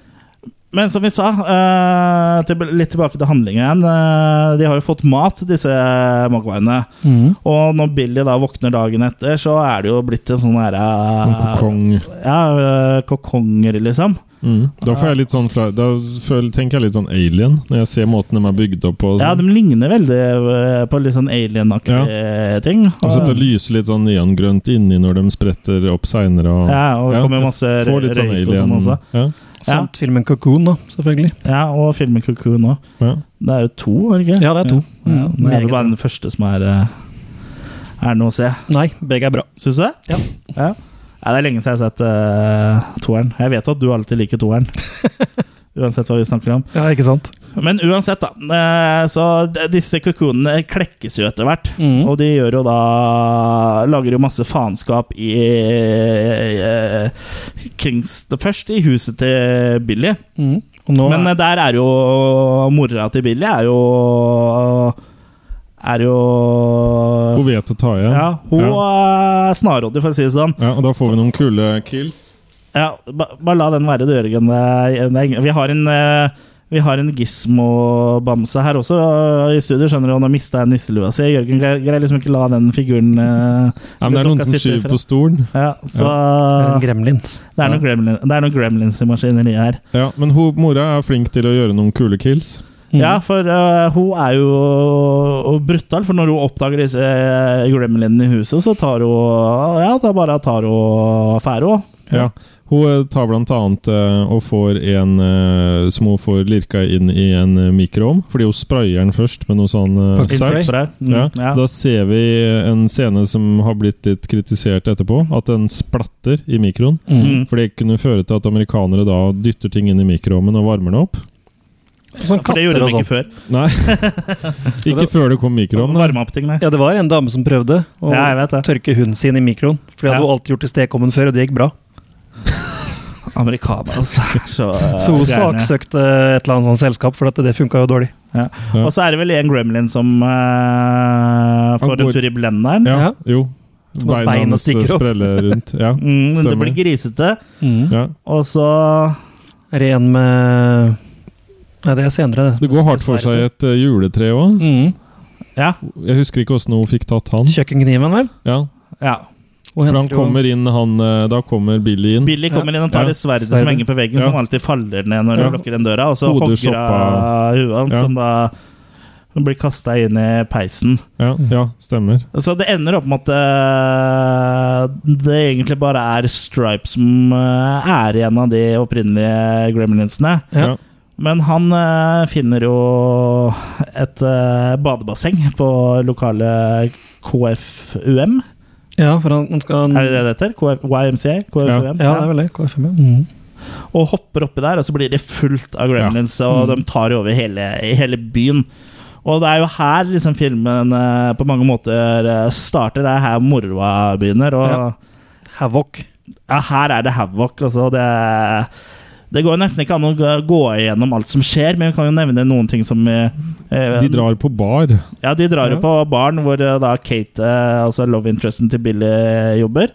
Men som vi sa, eh, til, litt tilbake til handlingen igjen. eh, de har jo fått mat, disse mogwaiene.
Mm.
Og når Billy da våkner dagen etter, så er det jo blitt en sånn herre
En kokong.
Ja, eh, kokonger, liksom.
Mm. Da får jeg litt sånn fra, da føl- tenker jeg litt sånn alien, når jeg ser måten de er bygd opp på. og
Ja,
sånn.
de ligner veldig eh, på litt sånn alien-aktige ting.
Og så at det lyser litt sånn neongrønt inni når de spretter opp seinere. Og,
Ja, og det kommer masse
jeg får litt
røyk og sånn
alien-
også.
Ja,
Samt filmen Cocoon, da, selvfølgelig.
Ja, og filmen Cocoon nå
ja.
Det er jo to, er det ikke?
Ja, det er to.
Ja, ja,
Mm,
det er
meget
vel bare
bra.
den første som er eh, Er noe å se.
Nei, begge er bra.
Syns du det?
Ja.
ja. Ja, det er lenge siden jeg har sett eh, toeren. Jeg vet at du alltid liker toeren. Uansett hva vi snakker om.
Ja, ikke sant?
Men uansett, da. eh, Så d- disse kokonene klekkes jo etter hvert.
Mm.
Og de gjør jo da Lager jo masse faenskap i, eh, i, i Kings Først i huset til Billy.
Mm. Og nå
Men eh, der er jo mora til Billy er jo Er jo
Hun vet å ta igjen.
ja, Hun
ja.
er snarrådig, for å si det sånn.
Ja, og da får vi noen kule kills.
Ja, ba, bare la den være, du, Jørgen. Det er- det er- Vi har en eh, vi har en Gismo-bamse her også eh, i studio. skjønner du, Han har mista nisselua si. Jørgen greier greier liksom ikke la den figuren eh,
Ja, men det er noen
dokka
som
sitte
skyver
fra-
på stolen.
Ja, så eh,
er det gremlint.
det er noen gremlin, det er noen gremlins i maskineriet her.
Ja, men hun, mora er flink til å gjøre noen kule kills.
Mm.
Ja, for eh, hun er jo og brutal, for når hun oppdager disse eh, gremlinene i huset, så tar hun Ja, da bare tar hun affære òg.
Ja. Hun eh, tar blant annet eh, og får en eh, som hun får lirka inn i en eh, mikroovn, fordi hun sprayer den først med noe sånn eh,
Pakkestrøy.
sterk.
Mhm.
Ja. Da ser vi en scene som har blitt litt kritisert etterpå, at den splatter i mikroen.
Mm.
For det kunne føre til at amerikanere da dytter ting inn i mikroovnen og varmer den opp.
Sånn
For det
katter
gjorde
og
de
sånn.
ikke før.
Nei, ikke før det kom mikroovn. da.
Varme opp ting, nei.
Ja, det var en dame som prøvde å
Ja, jeg vet det.
tørke hunden sin i mikroen. For det
Ja.
hadde hun alltid gjort i stekeovnen før, og det gikk bra.
Amerikaner, altså. Så, eh,
Så hun
gærne.
saksøkte et eller annet sånt selskap, for at det funka jo dårlig.
Ja.
Ja.
Og så er det vel en gremlin som eh, får
går-
en tur i blenderen.
Ja, jo.
Som at beina
Beina hans eh,
stikker opp.
spreller rundt. Ja,
Mm, det
stemmer.
blir grisete,
Ja.
og så
Ren med Nei, det er senere, det.
Det går hardt for seg i et eh, juletre òg.
Mm.
Ja.
Jeg husker ikke åssen hun fikk tatt han.
Kjøkkenkniven, vel?
Ja,
ja.
Og
for
henter
han
jo-
kommer inn, han, eh, da kommer Billy inn.
Billy kommer inn og tar
Ja.
det sverdet
Sverdet.
som henger på veggen,
Ja.
som alltid faller ned når
Ja.
du lukker den døra, og så
Hodet
hogger av huet hans,
Ja.
som da blir kasta inn i peisen.
Ja, ja stemmer.
Så det ender opp med at eh, det egentlig bare er Stripe som eh, er en av de opprinnelige gremlinsene.
Ja.
Ja.
Men han eh, finner jo et eh, badebasseng på lokale KFUM.
Ja, for han, han skal
Er det det det heter? KF, YMCA? KFUM?
Ja, det er vel det. KFM, ja. Mm.
og hopper oppi der, og så blir det fullt av gremlins, og
Mm.
de tar jo over hele, hele byen. Og det er jo her liksom filmen eh, på mange måter eh, starter. Det er her moroa begynner. Og ja.
Ja. Havoc.
her er det havoc. Altså, det, det går jo nesten ikke an å gå gå igjennom alt som skjer, men vi kan jo nevne noen ting som eh, eh,
De drar på bar.
Ja, de drar jo
Ja.
på baren hvor eh, da Kate, eh, altså love interesten til Billy, eh, jobber.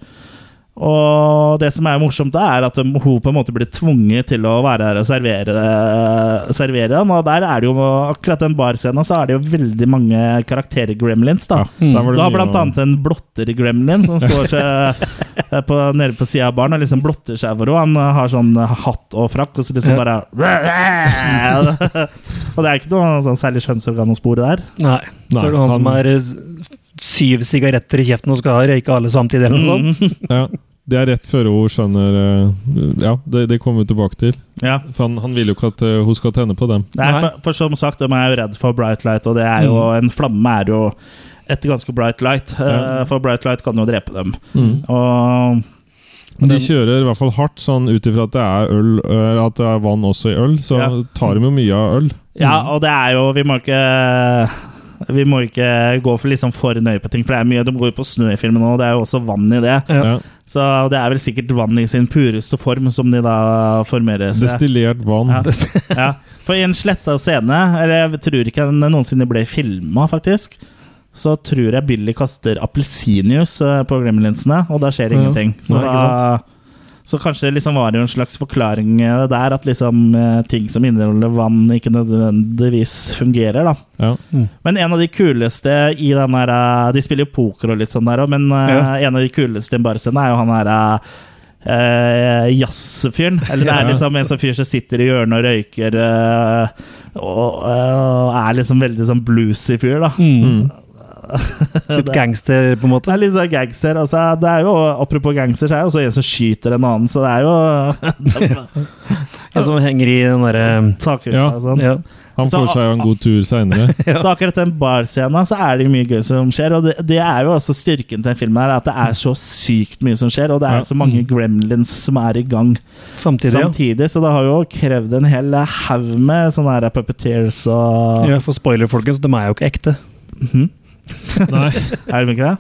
Og det som er morsomt, da, er at de- hun på en måte blir tvunget til å være der og servere, eh, servere dem. Og der er det jo akkurat den barscenen, så er det jo veldig mange karakterer gremlins, Ah, hmm. da.
Ja, der var det
Du har
mye
blant
å-
annet en blotter-gremlin som står seg eh, på, nede på sida av baren og liksom blotter seg for henne. Han eh, har sånn eh, hatt og frakk, og så liksom
Ja.
bare Og det er ikke noe sånn særlig skjønnsorgan å spore der.
Nei.
Nei,
Så er det han,
han-
som er eh, s- syv sigaretter i kjeften og skal røyke alle samtidig, eller noe
Mm,
sånt.
Ja. Det er rett før hun skjønner eh, Ja, det, det kommer vi tilbake til.
Ja.
For han, han vil jo ikke at eh, hun skal tenne på dem.
Nei,
Nei.
for, for som sagt, de er jo redd for bright light, og det er jo en flamme er jo et ganske bright light. eh,
Mm. Ja.
For bright light kan jo drepe dem.
Mm.
Og
Men de kjører i hvert fall hardt, sånn ut ifra at det er øl eh, At det er vann også i øl, så
Ja.
tar de jo mye av øl.
Ja, og det er jo Vi må ikke vi må ikke gå for, liksom for nøye på ting, for det er mye, de går jo på snø i filmen òg. Det er jo også vann i det.
Ja.
Ja.
Så det er vel sikkert vann i sin pureste form som de da formerer seg.
Destillert vann.
Ja. Ja. For i en sletta scene, eller jeg tror ikke den noensinne ble filma, faktisk, så tror jeg Billy kaster appelsinjuice eh, på gremlinsene, og da skjer det
Ja.
ingenting. Så,
Nei, ikke
da, så kanskje det liksom var jo en slags forklaring eh, der, at liksom eh, ting som inneholder vann, ikke nødvendigvis fungerer, da.
Ja.
Men en av de kuleste i den her eh, De spiller jo poker og litt sånn der òg, men eh,
Ja.
en av de kuleste i barscenen er jo han her eh, jazzfyren. Eller det er
Ja.
liksom en sånn fyr som sitter i hjørnet og røyker eh, og eh, er liksom veldig sånn bluesy fyr, da.
Mm. Litt gangster, på
Det
en måte.
er litt sånn gangster. Altså, det er jo, apropos gangster, så er det også en som skyter en annen, så det er jo
En som Altså, henger i den eh, derre
saker.
Ja.
og sånt.
ja.
Han
Så-
får seg jo en god tur seinere.
Så akkurat den barscenen så er det mye gøy som skjer, og det, det er jo også styrken til den filmen her, at det er så sykt mye som skjer, og det
Ja.
er så mange gremlins som er i gang
Samtidig, ja.
samtidig, så det har jo krevd en hel haug med sånne her puppeteers og
Ja, for spoiler, folkens, de er jo ikke ekte.
Mhm.
Nei.
Er de ikke det?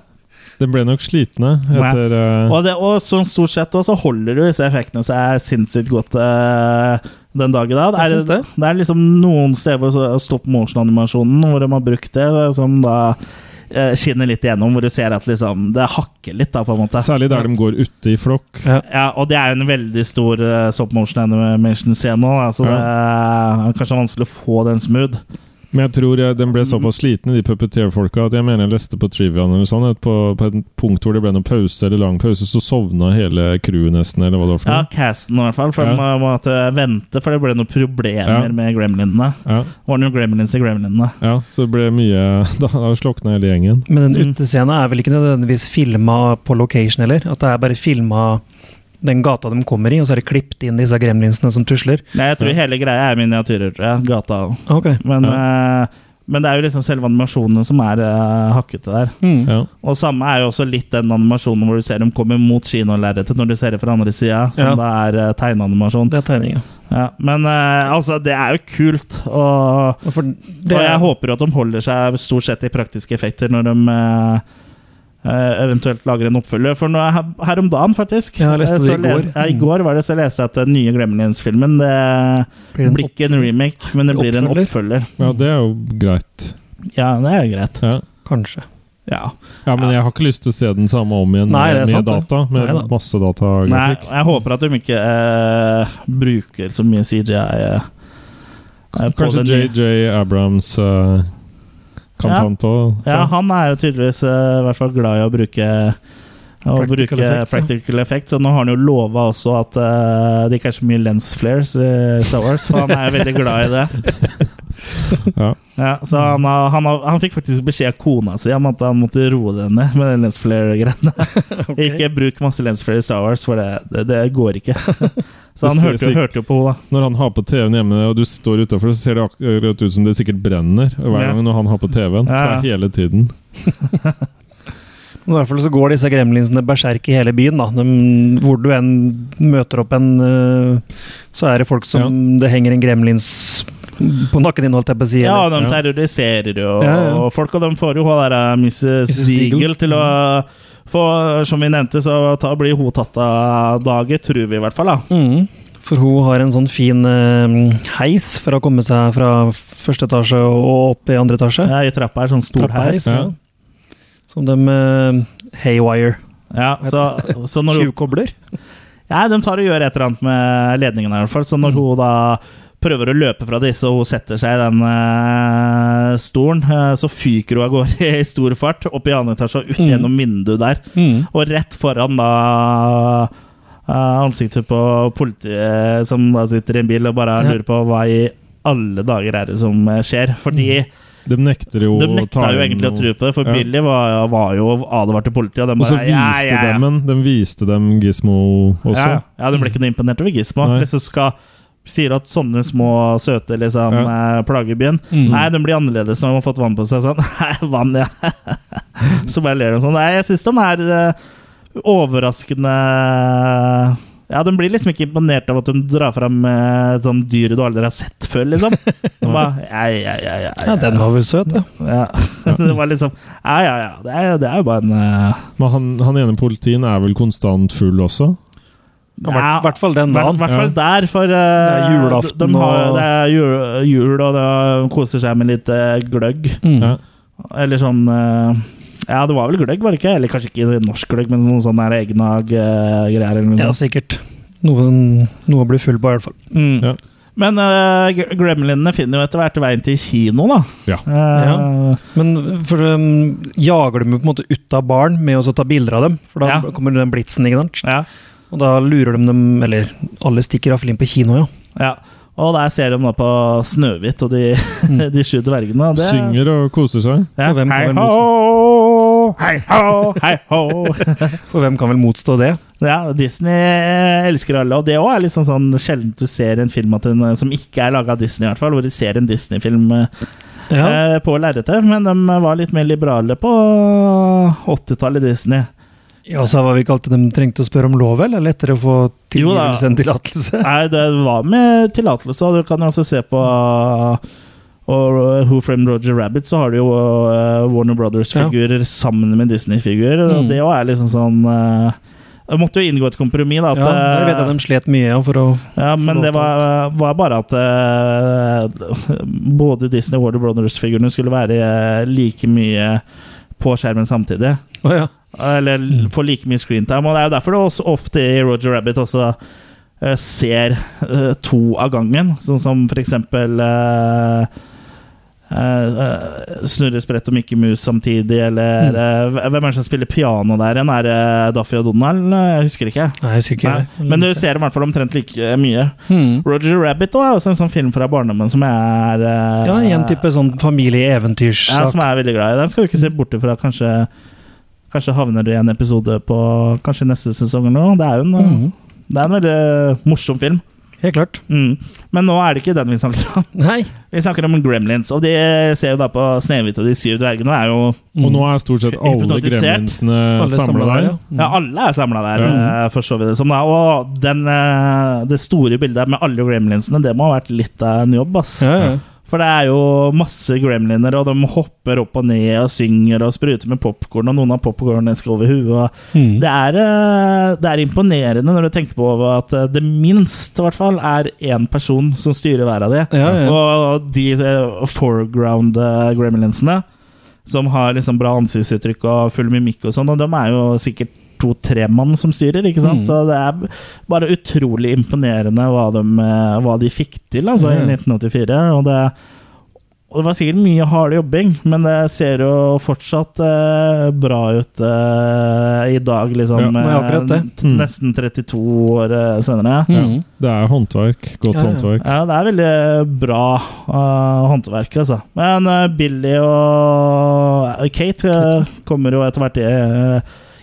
Den ble nok slitne etter eh,
Og, det, og som stort sett også, så holder jo disse effektene seg sinnssykt godt eh, den dag i dag. Det
Jeg
er,
syns det.
det er liksom noen steder hvor så- stopp motion-animasjonen hvor de har brukt det, som da eh, skinner litt igjennom, hvor du ser at liksom det hakker litt, da, på en måte.
Særlig der de går ute i flokk.
Ja.
Ja, og det er jo en veldig stor uh, stop motion animation-scene nå, da, så det er kanskje vanskelig å få den smooth.
Men jeg tror eh,
Mm.
den ble såpass sliten, de puppeteer-folka, at jeg mener jeg leste på Trivian eller sånn, at på, på et punkt hvor det ble noen pause eller lang pause, så sovna hele crewet nesten, eller hva det var for
Ja,
noe.
casten i hvert fall, for
Ja.
de måtte vente, for det ble noen problemer
Ja.
med gremlinene.
Ja.
Det var noen gremlins i gremlinene.
ja, så det ble mye Da, da slokna hele gjengen.
Men den
Mm.
utescenen er vel ikke nødvendigvis filma på location heller? At det er bare filma den gata de kommer i, og så er det klippet inn disse gremlinsene som tusler?
Nei, jeg tror hele greia er miniatyrer, tror jeg. Gata.
Ok.
Men, eh, men det er jo liksom selve animasjonene som er eh, hakkete der.
Mm.
Ja.
Og samme er jo også litt den animasjonen hvor du ser dem komme mot kinolerretet når du ser det fra andre sida, som
Ja.
da er eh, tegneanimasjon.
Det er tegninga.
Ja, men eh, altså, det er jo kult. Og,
Og for
og
det-
jeg håper jo at de holder seg stort sett i praktiske effekter når de eh, eh, eventuelt lager en oppfølger. For nå, her, her om dagen, faktisk
Ja, jeg leste
eh, så
det i går.
le- Ja, I går var det så leste jeg at den nye Gremlins-filmen Det
Blir det en
blir ikke en remake, men det blir en oppfølger.
ja, det er jo greit.
Ja, det er jo greit.
Ja.
Kanskje.
Ja.
Ja, men jeg har ikke lyst til å se den samme om igjen
Nei, det er
med
sant, det.
data. Med
Neida.
masse
Nei,
datagrafikk.
jeg håper at de ikke eh, bruker så mye CGI. eh, eh, på
Kanskje
den nye-
JJ Abrams eh, kan
Ja.
ta den på. Sånn. så.
Ja, han er jo tydeligvis eh, i hvert fall glad i å bruke å
Practical
bruke
effects, ja.
practical effects, og nå har han jo lova også at eh, det ikke er så mye lens flares i Star Wars, for han er jo veldig glad i det.
Ja.
Ja, så han, har- han, har- han fikk faktisk beskjed av kona si om at han måtte roe det ned med den lens flare-greiene. Ikke bruk masse lens flare i Star Wars, for det, det, det går ikke. Så han
Det
hørte
ser
jo, hørte jo på henne, da.
Når han har på TV-en hjemme og du står utafor, så ser det akkurat ut som det sikkert brenner hver
Ja.
gang når han har på TV-en.
Ja, ja.
for det er Hele tiden.
I hvert fall så går disse gremlinsene berserk i hele byen. da. De, hvor du enn møter opp en, øh, så er det folk som Det henger en gremlins på nakken din, holdt jeg på å si.
Ja,
eller-
og de
Ja.
terroriserer jo
Ja, ja.
og folk, og de får jo hun der eh, Mrs.
Mrs.
Deagle
Deagle
til å
Mm.
få eh, Som vi nevnte, så ta, blir hun tatt av daget, tror vi i hvert fall. da
Mm. For hun har en sånn fin øh, heis for å komme seg fra første etasje og opp i andre etasje.
Ja, I trappa er sånn stor heis.
Trappheis, ja. Som de øh, haywire
Ja, så, så når hun,
tjuvkobler.
ja, de tar og gjør et eller annet med ledningen her, i hvert fall. Så
Mm.
når hun da prøver å løpe fra disse, og hun setter seg i den eh, stolen, eh, så fyker hun av gårde i stor fart opp i andre etasje og ut
Mm.
gjennom vinduet der.
Mm.
Og rett foran da eh, ansiktet på politiet som da sitter i en bil og bare
Ja.
lurer på hva i alle dager er det som eh, skjer. Fordi
De nekter jo
de
å
nekta
ta
jo
inn
egentlig å tro
noe.
på det, for
Mm. Ja.
Billy var, var jo advart til politiet, og de
Og så
bare
viste de en. De viste dem Gismo også.
Ja, ja, de ble ikke noe imponert over Gismo.
Nei.
Hvis du skal Sier at sånne små, søte liksom, eh, plager byen.
Mm.
Nei, de blir annerledes når de har fått vann på seg. Sånn. Nei, vann, ja.
Mm.
Så bare ler de sånn. Nei, jeg syns de er eh, overraskende Ja, de blir liksom ikke imponert av at de drar fram eh, et sånt dyr du aldri har sett før, liksom. De Bare, ja, ja, ja, ja,
Ja, den var vel søt, da.
ja. Det var liksom Ja, ja, ja. Det er, jo- det er jo bare en eh,
Men han, han ene politien er vel konstant full også?
I
ja,
hvert- hvert fall den
I
dagen.
hvert fall der, for eh,
er julaften
de, de har,
og-
det er jul, jul, og de koser seg med litt eh, gløgg.
Mm.
Ja.
Eller sånn eh, Ja, det var vel gløgg, var det ikke? Eller kanskje ikke norsk gløgg, men noen sånne egnag-greier. eller noe
Ja,
sånt.
sikkert. Noen, noe å bli full på, i hvert fall.
Mm.
Ja.
Men eh, Gre- gremlinene finner jo etter hvert veien til kino, da.
Ja.
Eh,
Ja. Men for um, jager de jo på en måte ut av baren med å så ta bilder av dem? For da
Ja.
kommer den blitsen, ikke sant?
ja.
Og da lurer de dem Eller alle stikker iallfall inn på kino, ja.
ja. Og der ser de da på Snøhvit og de, de sju dvergene. og Det,
Synger og koser seg.
Ja.
Og Mm. hvem
Hei
kan vel
ho, hei ho, hei ho.
For hvem kan vel motstå det?
Ja, Disney eh, elsker alle, og det òg er liksom sånn sjeldent du ser en film at en, eh, som ikke er laga av Disney, i hvert fall, hvor de ser en Disney-film eh,
Ja.
eh, på lerretet. Men de var litt mer liberale på 80-tallet i Disney.
ja, så var vi ikke alltid de trengte å spørre om lov, eller? Lettere å få
Jo da.
tilgivelse enn tillatelse?
Nei, det var med tillatelse, og du kan jo også se på og eh, Who Framed Roger Rabbit, så har du jo eh, Warner Brothers-figurer sammen med Disney-figurer.
Mm.
Og det òg er liksom sånn eh, Det måtte jo inngå et kompromiss, da. At, eh,
Ja, der vet jeg de slet mye ja, for å
Ja, men
Forlåt,
det var, var bare at eh, både Disney og Warner Brothers-figurene skulle være eh, like mye på skjermen samtidig.
Å ja.
Eller få like mye screentime. Og det er jo derfor det også ofte i Roger Rabbit også eh, ser eh, to av gangen. Sånn som for eksempel eh, eh, eh, Snurre Sprett og Mickey Mouse samtidig, eller eh, Hvem er det som spiller piano der igjen? Er det Daffy og Donald? Jeg husker ikke.
Nei, jeg husker ikke.
Nei, men du ser dem i hvert fall omtrent like mye.
Hmm.
Roger Rabbit også er også en sånn film fra barndommen som jeg er eh,
Ja, en type sånn
ja,
familieeventyrsak.
som jeg er veldig glad i. Den skal du ikke se bort ifra. Kanskje, kanskje havner du i en episode på Kanskje neste sesong eller noe. Det er jo en, eh,
Mhm.
det er en veldig morsom film.
Helt klart.
Mm. Men nå er det ikke den vi snakker om.
Nei.
Vi snakker om Gremlins, og de ser jo da på Snehvit og de syv dvergene. Det er jo
Og nå er stort sett alle
Hypnotisert.
gremlinsene
Alle
samla
samlet
der.
ja.
Ja, alle er samla der,
Ja.
eh, for så vidt. det Som da. Og den, eh, det store bildet med alle gremlinsene, det må ha vært litt av en jobb, ass.
Ja, ja.
For det er jo masse gremliner, og de hopper opp og ned og synger og spruter med popkorn, og noen har popkornet skal over huet. og
Mm.
Det, er, eh, det er imponerende når du tenker på at eh, det minst, i hvert fall, er én person som styrer hver av de.
Ja, ja.
Og de eh, foreground eh, gremlinsene, som har liksom bra ansiktsuttrykk og full mimikk og sånn, og de er jo sikkert to-tre mann som styrer, ikke sant?
Mm.
Så det er bare utrolig imponerende hva de, eh, hva de fikk til altså,
Ja.
i 1984. Og det, og det var sikkert mye hard jobbing, men det ser jo fortsatt eh, bra ut eh, i dag, liksom.
Ja,
det er akkurat det.
eh, t- Nesten 32 år eh, senere.
Mm.
Det er håndverk. Godt
Ja, ja.
håndverk.
Ja, det er veldig bra eh, håndverk, altså. Men eh, Billy og Kate eh, kommer jo etter hvert eh,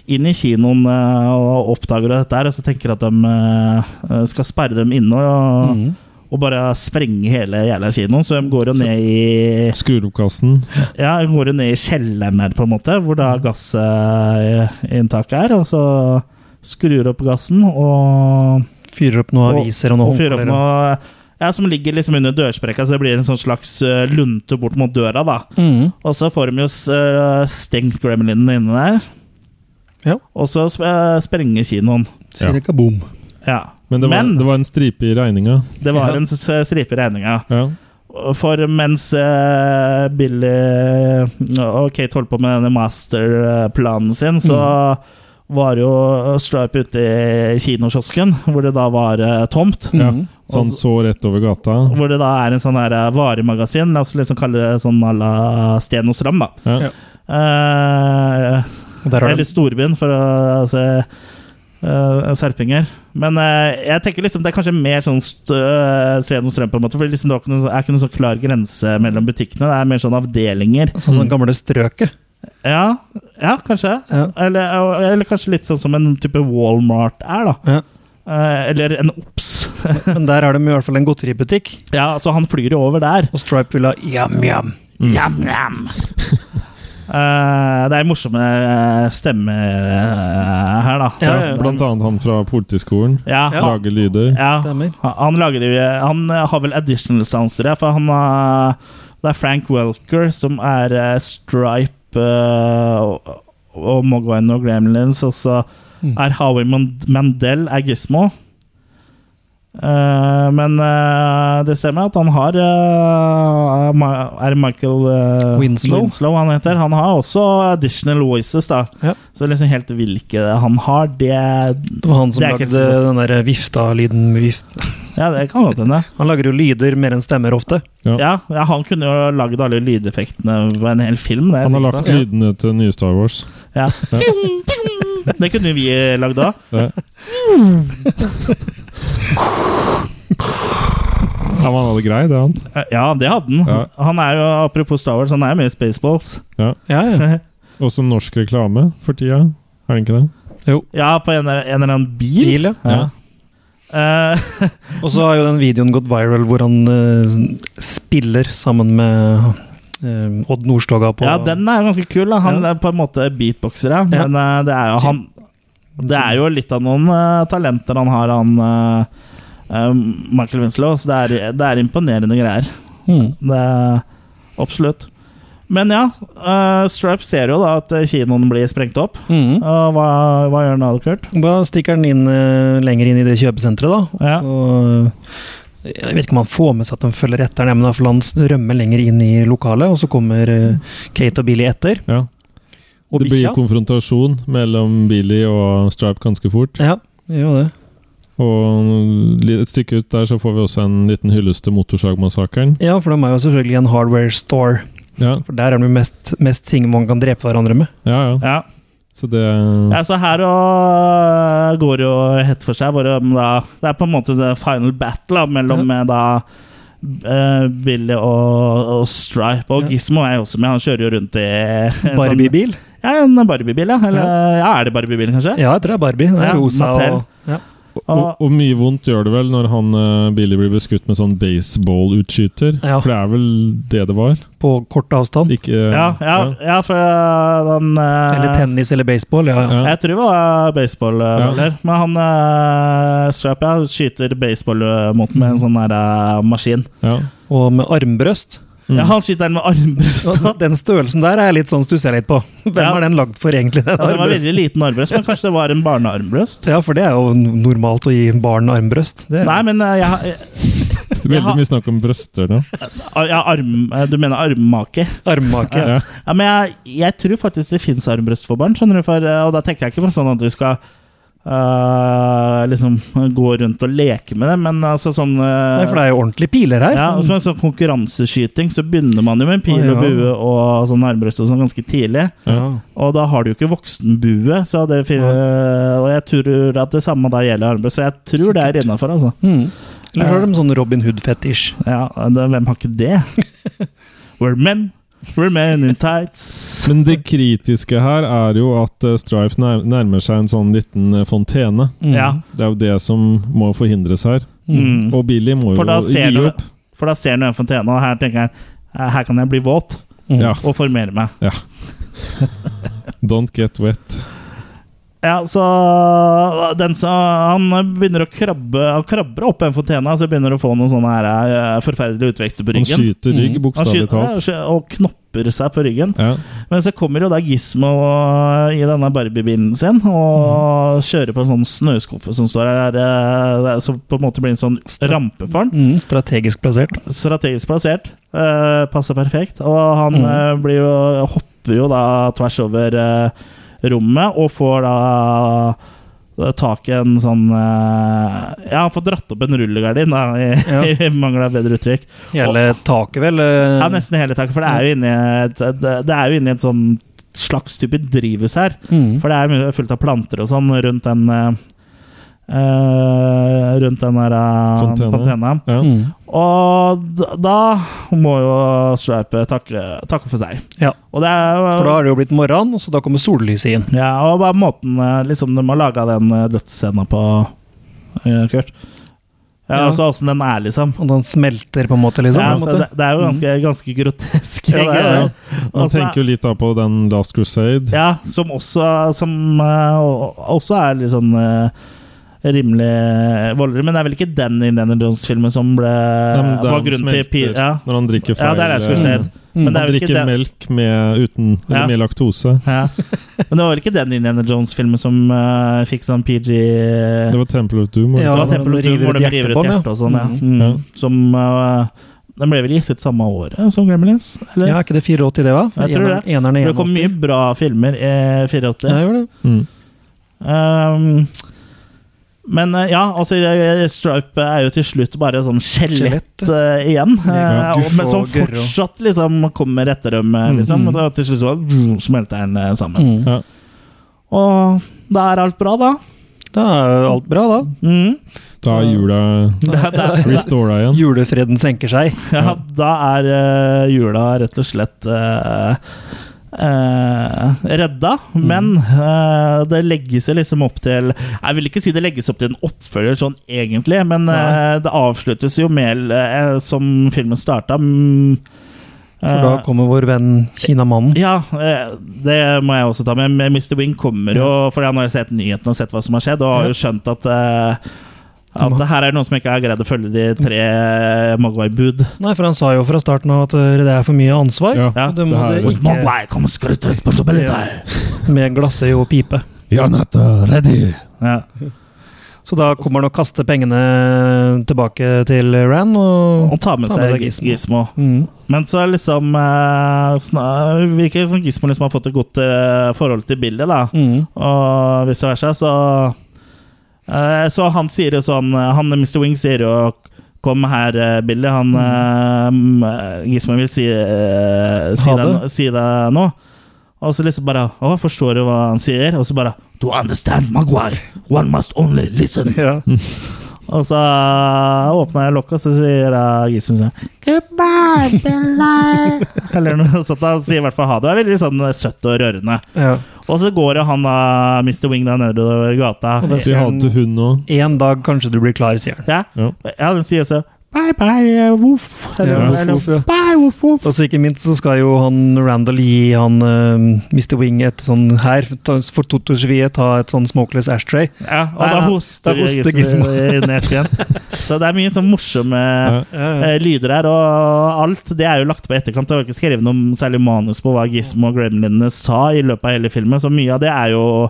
inn i kinoen eh, og oppdager dette her, og så tenker at de eh, skal sperre dem inne og,
Mm.
og bare sprenge hele jævla kinoen. Mhm. Så de går jo ned i
Skrur opp kassen.
ja, hun går jo ned i kjelleren her, på en måte, hvor da gassinntaket er. Og så skrur opp gassen og,
Fyrer opp noen
Og-
aviser og
og
noe
fyrer opp
håndklær, ja.
noe ja, som ligger liksom under dørsprekka, så det blir en sånn slags eh, lunte bort mot døra, da.
Mm.
Og så får de jo s- eh, stengt gremlinen inne der.
Ja.
Og så sp eh, sprenger kinoen.
Sier det ikke bom.
Ja.
Men det var,
Men-
det var en stripe i regninga.
Det var
Ja.
en s- stripe i regninga.
Ja.
For mens eh, Billy eh, og Kate holdt på med denne masterplanen sin, så
Mm.
var jo Stripe ute i kinokiosken, hvor det da var eh, tomt.
Ja.
Mm.
Så han så rett over gata.
Hvor det da er en sånn her eh, varemagasin, la oss liksom kalle det sånn à la Sten hos Ram, da.
Ja.
Ja.
Eh,
Og der har
eller
de
storbyen, for å se eh, serpinger. Men eh, jeg tenker liksom det er kanskje mer sånn st øh, Sten og Strøm, på en måte. For liksom det er ikke noe, er ikke noe så klar grense mellom butikkene. Det er mer sånn avdelinger.
sånn som gamle strøket.
Ja, ja kanskje.
Ja.
Eller, eller kanskje litt sånn som en type Walmart er, da.
Ja.
Eh, eller en OBS.
Men der har de i hvert fall en godteributikk,
ja, altså han flyr jo over der.
og Stripe vil ha jam-jam.
Jam, jam. Eh, det er morsomme eh, stemmer eh, her, da.
Ja, ja, ja.
Blant annet han fra politiskolen.
Ja,
Ja.
Lager lyder.
Ja,
Stemmer.
han- Han, lager, jo- han eh, har vel additional sounds, tror jeg. For han har, det er Frank Welker som er eh, Stripe eh, og, og Mogwine og Gremlins. Og så
Mm.
er Howie Mand- Mandel er Gizmo. Eh, men eh, det stemmer at han har eh, Ma- Er det Michael eh,
Winslow?
han heter? Han har også additional voices, da.
Ja.
Så liksom helt hvilke han har, det
Det var han som
Det er ikke
lagde
helt sikkert.
den der vifta-lyden. med Vift.
Ja, det kan godt hende.
Han lager jo lyder mer enn stemmer ofte.
Ja, ja, han kunne jo lagd alle lydeffektene på en hel film. Det, er jeg
Han
sikker
har lagt
på.
lydene til nye Star Wars.
ja. det kunne vi eh, lagd òg.
Ja. Ja, men han hadde grei, det, han.
Ja, det hadde han.
Ja.
Han er jo, Apropos Star Wars, han er jo med i Spaceballs.
Ja, ja.
Også norsk reklame for tida. Er det ikke det?
Ja, på en, en eller annen bil.
Bil, ja.
Ja. Eh,
Og så har jo den videoen gått viral hvor han eh, spiller sammen med eh, Odd Nordstoga på
ja, den er ganske kul. Da. Han
Ja.
er på en måte beatboxer, ja.
Ja.
Men eh, det er jo han Det er jo litt av noen eh, talenter han har, han eh, eh, Michael Winslow. Så det er, det er imponerende greier.
Mm.
Det, Absolutt. Men ja, eh, Stripe ser jo da at eh, kinoen blir sprengt opp.
Mhm.
Og hva, hva gjør han da, Kurt?
Da stikker han inn eh, lenger inn i det kjøpesenteret, da. Og
Ja.
Så, eh, jeg vet ikke om han får med seg at de følger etter ham, men da, for han rømmer lenger inn i lokalet, og så kommer eh, Kate og Billy etter.
Ja.
Og
Det blir
bikkja.
konfrontasjon mellom Billy og Stripe ganske fort.
Ja, det gjør jo det.
Og li- et stykke ut der så får vi også en liten hyllest til motorsagmassakren.
Ja, for de er jo selvfølgelig en hardware store.
Ja,
For der er det jo mest, mest ting man kan drepe hverandre med.
ja, ja.
Ja.
Så det
Ja, så her og eh, går jo hett for seg. Hvor de da, det er på en måte the final battle da, mellom eh, da eh, Billy og, og Stripe. Og
Ja.
Gizmo er jo også med. Han kjører jo rundt i en Sånn,
Barbie-bil?
ja, en Barbie-bil, ja. Eller ja, er det Barbie-bil, kanskje?
Ja, jeg tror det er Barbie. Det er
Ja,
rosa
Mattel.
og ja.
Og, og mye vondt gjør det vel når han eh, Billy blir beskutt med sånn baseball-utskyter.
Ja.
For det er vel det det var?
På kort avstand.
Ikke eh,
ja, ja,
ja.
ja, for eh, den eh,
Eller tennis eller baseball. Ja, ja.
Ja.
Jeg tror det var baseballballer. Men han eh, Stripe ja, skyter baseball mot med en sånn der, eh, maskin.
Ja.
Og med armbrøst.
Mm.
Ja, han skyter den med armbrøst.
Og Den størrelsen der er jeg litt sånn stusser jeg litt på. Hvem
Ja.
er den lagd for, egentlig?
Ja,
Den
det var
armbrøsten?
veldig liten armbrøst, men kanskje det var en barnearmbrøst?
Ja, for det er jo n- normalt å gi barn armbrøst. Det er,
Nei, men eh, jeg, jeg,
Veldig mye snakk om brøster nå.
jeg arm, eh, Du mener armmake?
armmake.
Ja.
Ja, men jeg, jeg tror faktisk det fins armbrøst for barn, skjønner du. For, eh, og da tenker jeg ikke på sånn at du skal eh, liksom gå rundt og leke med det, men altså sånn eh,
Nei, for det er jo ordentlige piler her.
ja, og som en sånn konkurranseskyting så begynner man jo med pil
Å, ja.
og bue og sånn armbrøst og sånn ganske tidlig.
Ja.
Og da har du jo ikke voksenbue, så det fin- eh, og jeg tror at det samme da gjelder armbrøst. Så jeg tror det er innafor, altså.
Mm. Eller så har de sånn Robin Hood-fetisj.
Ja, det, hvem har ikke det? We're men, we're men in tights.
Men det kritiske her er jo at eh, Stripe nær- nærmer seg en sånn liten eh, fontene.
Mm.
Ja.
Det er jo det som må forhindres her.
Mm.
Og Billy må
For da
jo
ser
gi
du
opp.
For da ser du en fontene, og her tenker jeg eh, her kan jeg bli våt
Mm.
Ja.
og formere meg.
ja. Don't get wet.
Ja, så den som Han begynner å krabbe Han krabber opp en fontene, og så begynner å få noen sånne her, eh, forferdelige utvekster på
Han
ryggen.
skyter rygg,
Mm.
bokstavelig talt.
ja, og knopper seg på ryggen.
Ja.
Men så kommer jo da Gizmo eh, i denne Barbie-bilen sin
Mhm.
og kjører på en sånn snøskuffe som står her, eh, som på en måte blir en sånn rampe for han.
Mm, strategisk plassert.
Strategisk plassert. eh, passer perfekt. Og han
Mhm.
eh, blir jo, hopper jo da tvers over eh, rommet og får da tak i en sånn eh, Ja, han får dratt opp en rullegardin, da, i,
Ja.
i mangel av bedre uttrykk.
Hele taket, vel? eh,
Ja, nesten hele taket, for det er jo inni et, det, det er jo inni et sånn slags type drivhus her.
Mm.
For det er mye fullt av planter og sånn rundt den eh, eh, rundt den der eh,
Fontena.
fontena.
Ja.
Mm.
Og da, da må jo Stripe takke, takke for seg.
Ja.
Og det er jo
For da er det jo blitt morgen, og så da kommer sollyset inn.
ja, og bare måten eh, liksom, de har laga den eh, dødsscenen på, eh, Kurt. Ja,
Ja.
Altså åssen den er, liksom.
Og den smelter, på en måte. liksom.
Ja,
på en
altså,
måte. Mm.
det, det er jo ganske, ganske grotesk.
Ja, det er det.
greier.
Man
Og så-
tenker jo litt da på den Last Crusade.
Altså- Ja, som også, som, eh, o- også er litt sånn eh, rimelig voldelig. Men det er vel ikke den Indiana Jones-filmen som ble
Nei, men der
var
han
grunnen til
smelter
pi- ja.
Når han drikker feil
ja, det er det jeg skulle
eh,
mm.
si. Men det
Han
er jo ikke
drikker
den,
melk med, uten, eller
Ja.
med laktose.
ja. Men det var vel ikke den Indiana Jones-filmen som eh, fikk sånn PG
Det var Temple of Doom. var det
Ja,
Det
ikke?
var
når
Temple
de
of Doom,
river
hvor
ut
de river ut
hjertet på den,
hjertet og sånn. Ja.
ja.
Mm.
Ja.
Som eh, Den ble vel gitt ut samme året som Gremlins? Eller?
Ja, Er ikke det 480, det, hva?
Jeg tror det.
Eneren- Eneren er
det kom
81.
mye bra filmer i 84.
Ja, jeg gjorde det.
Mm.
Ehm, men eh, ja, altså eh, Stripe er jo til slutt bare sånn skjelett
Skjelett.
eh, igjen.
Ja,
eh, og, men
guff
som
og gørr og-
fortsatt liksom kommer etter dem, eh,
Mm,
liksom.
mm.
Og da til slutt så bare smelter den eh, sammen.
Mm.
Ja.
Og da er alt bra, da.
Da er jo alt bra, da.
Mm.
Da er jula
Da, da,
restora igjen.
Julefreden senker seg.
ja, da er eh, jula rett og slett eh, eh, redda,
Mm.
men eh, det legges jo liksom opp til Jeg vil ikke si det legges opp til en oppfølger sånn egentlig, men
Nei.
eh, det avsluttes jo med, eh, som filmen starta mm,
For da
eh,
kommer vår venn kinamannen.
ja, eh, det må jeg også ta med. Men Mr. Wing kommer jo fordi han har sett nyhetene og sett hva som har skjedd, og har jo skjønt at eh, At det her er noen som ikke har greid å følge de tre Mogwai-bud.
Nei, for han sa jo fra starten av at eh, det er for mye ansvar.
Ja.
Ja.
Du må
det er-
det ikke
Mogwai, kom skrutt responsibilitet!
med glassøye og pipe.
You're not ready.
Ja.
Så da
Sånn.
kommer han og kaster pengene tilbake til Ran. Og,
Og ta med
Ta med
seg
deg
Gis-
Gizmo.
Gizmo.
mm.
Men så er liksom eh, sna- Virker det som Gizmo liksom har fått et godt eh, forhold til Billy, da.
Mm.
Og vice versa, så eh, Så han sier jo sånn eh, Han Mr. Wing sier jo Kom her, eh, Billy. Han
Mm.
eh, Gizmo vil si, eh, si,
Ha
deg,
det.
no- si deg nå. Og så liksom bare Å, forstår du hva han sier? Og så bare To understand, Maguire. One must only listen.
Ja.
Og så åpna jeg lokket, og så sier jeg Gismen sånn Goodbye, Billy. Eller noe sånt. da, Han sier i hvert fall ha det. Det er veldig sånn søtt og rørende.
Ja.
Og så går jo han da, Mr. Wing, da nedover gata.
Og det-
Si ha det til hun nå.
En dag kanskje du blir klar, sier han.
Ja,
Ja.
ja den sier også Bye, bye, uh, woof. Eller,
Ja,
eller,
woof, woof, ja.
Bye, woof, woof.
Og så ikke minst så skal jo han Randall gi han eh, Mr. Wing et sånn her ta- for Totosjviet ta et sånn smokeless ashtray.
Ja, og
Nei,
da
nei,
hoster,
da hoster
Gismo
Gizmo.
ned igjen. Så det er mye sånn morsomme
Ja.
Ja,
eh, lyder her, og alt det er jo lagt på etterkant. Det var ikke skrevet noe særlig manus på hva Gizmo og gremlinene sa i løpet av hele filmen, så mye av det er jo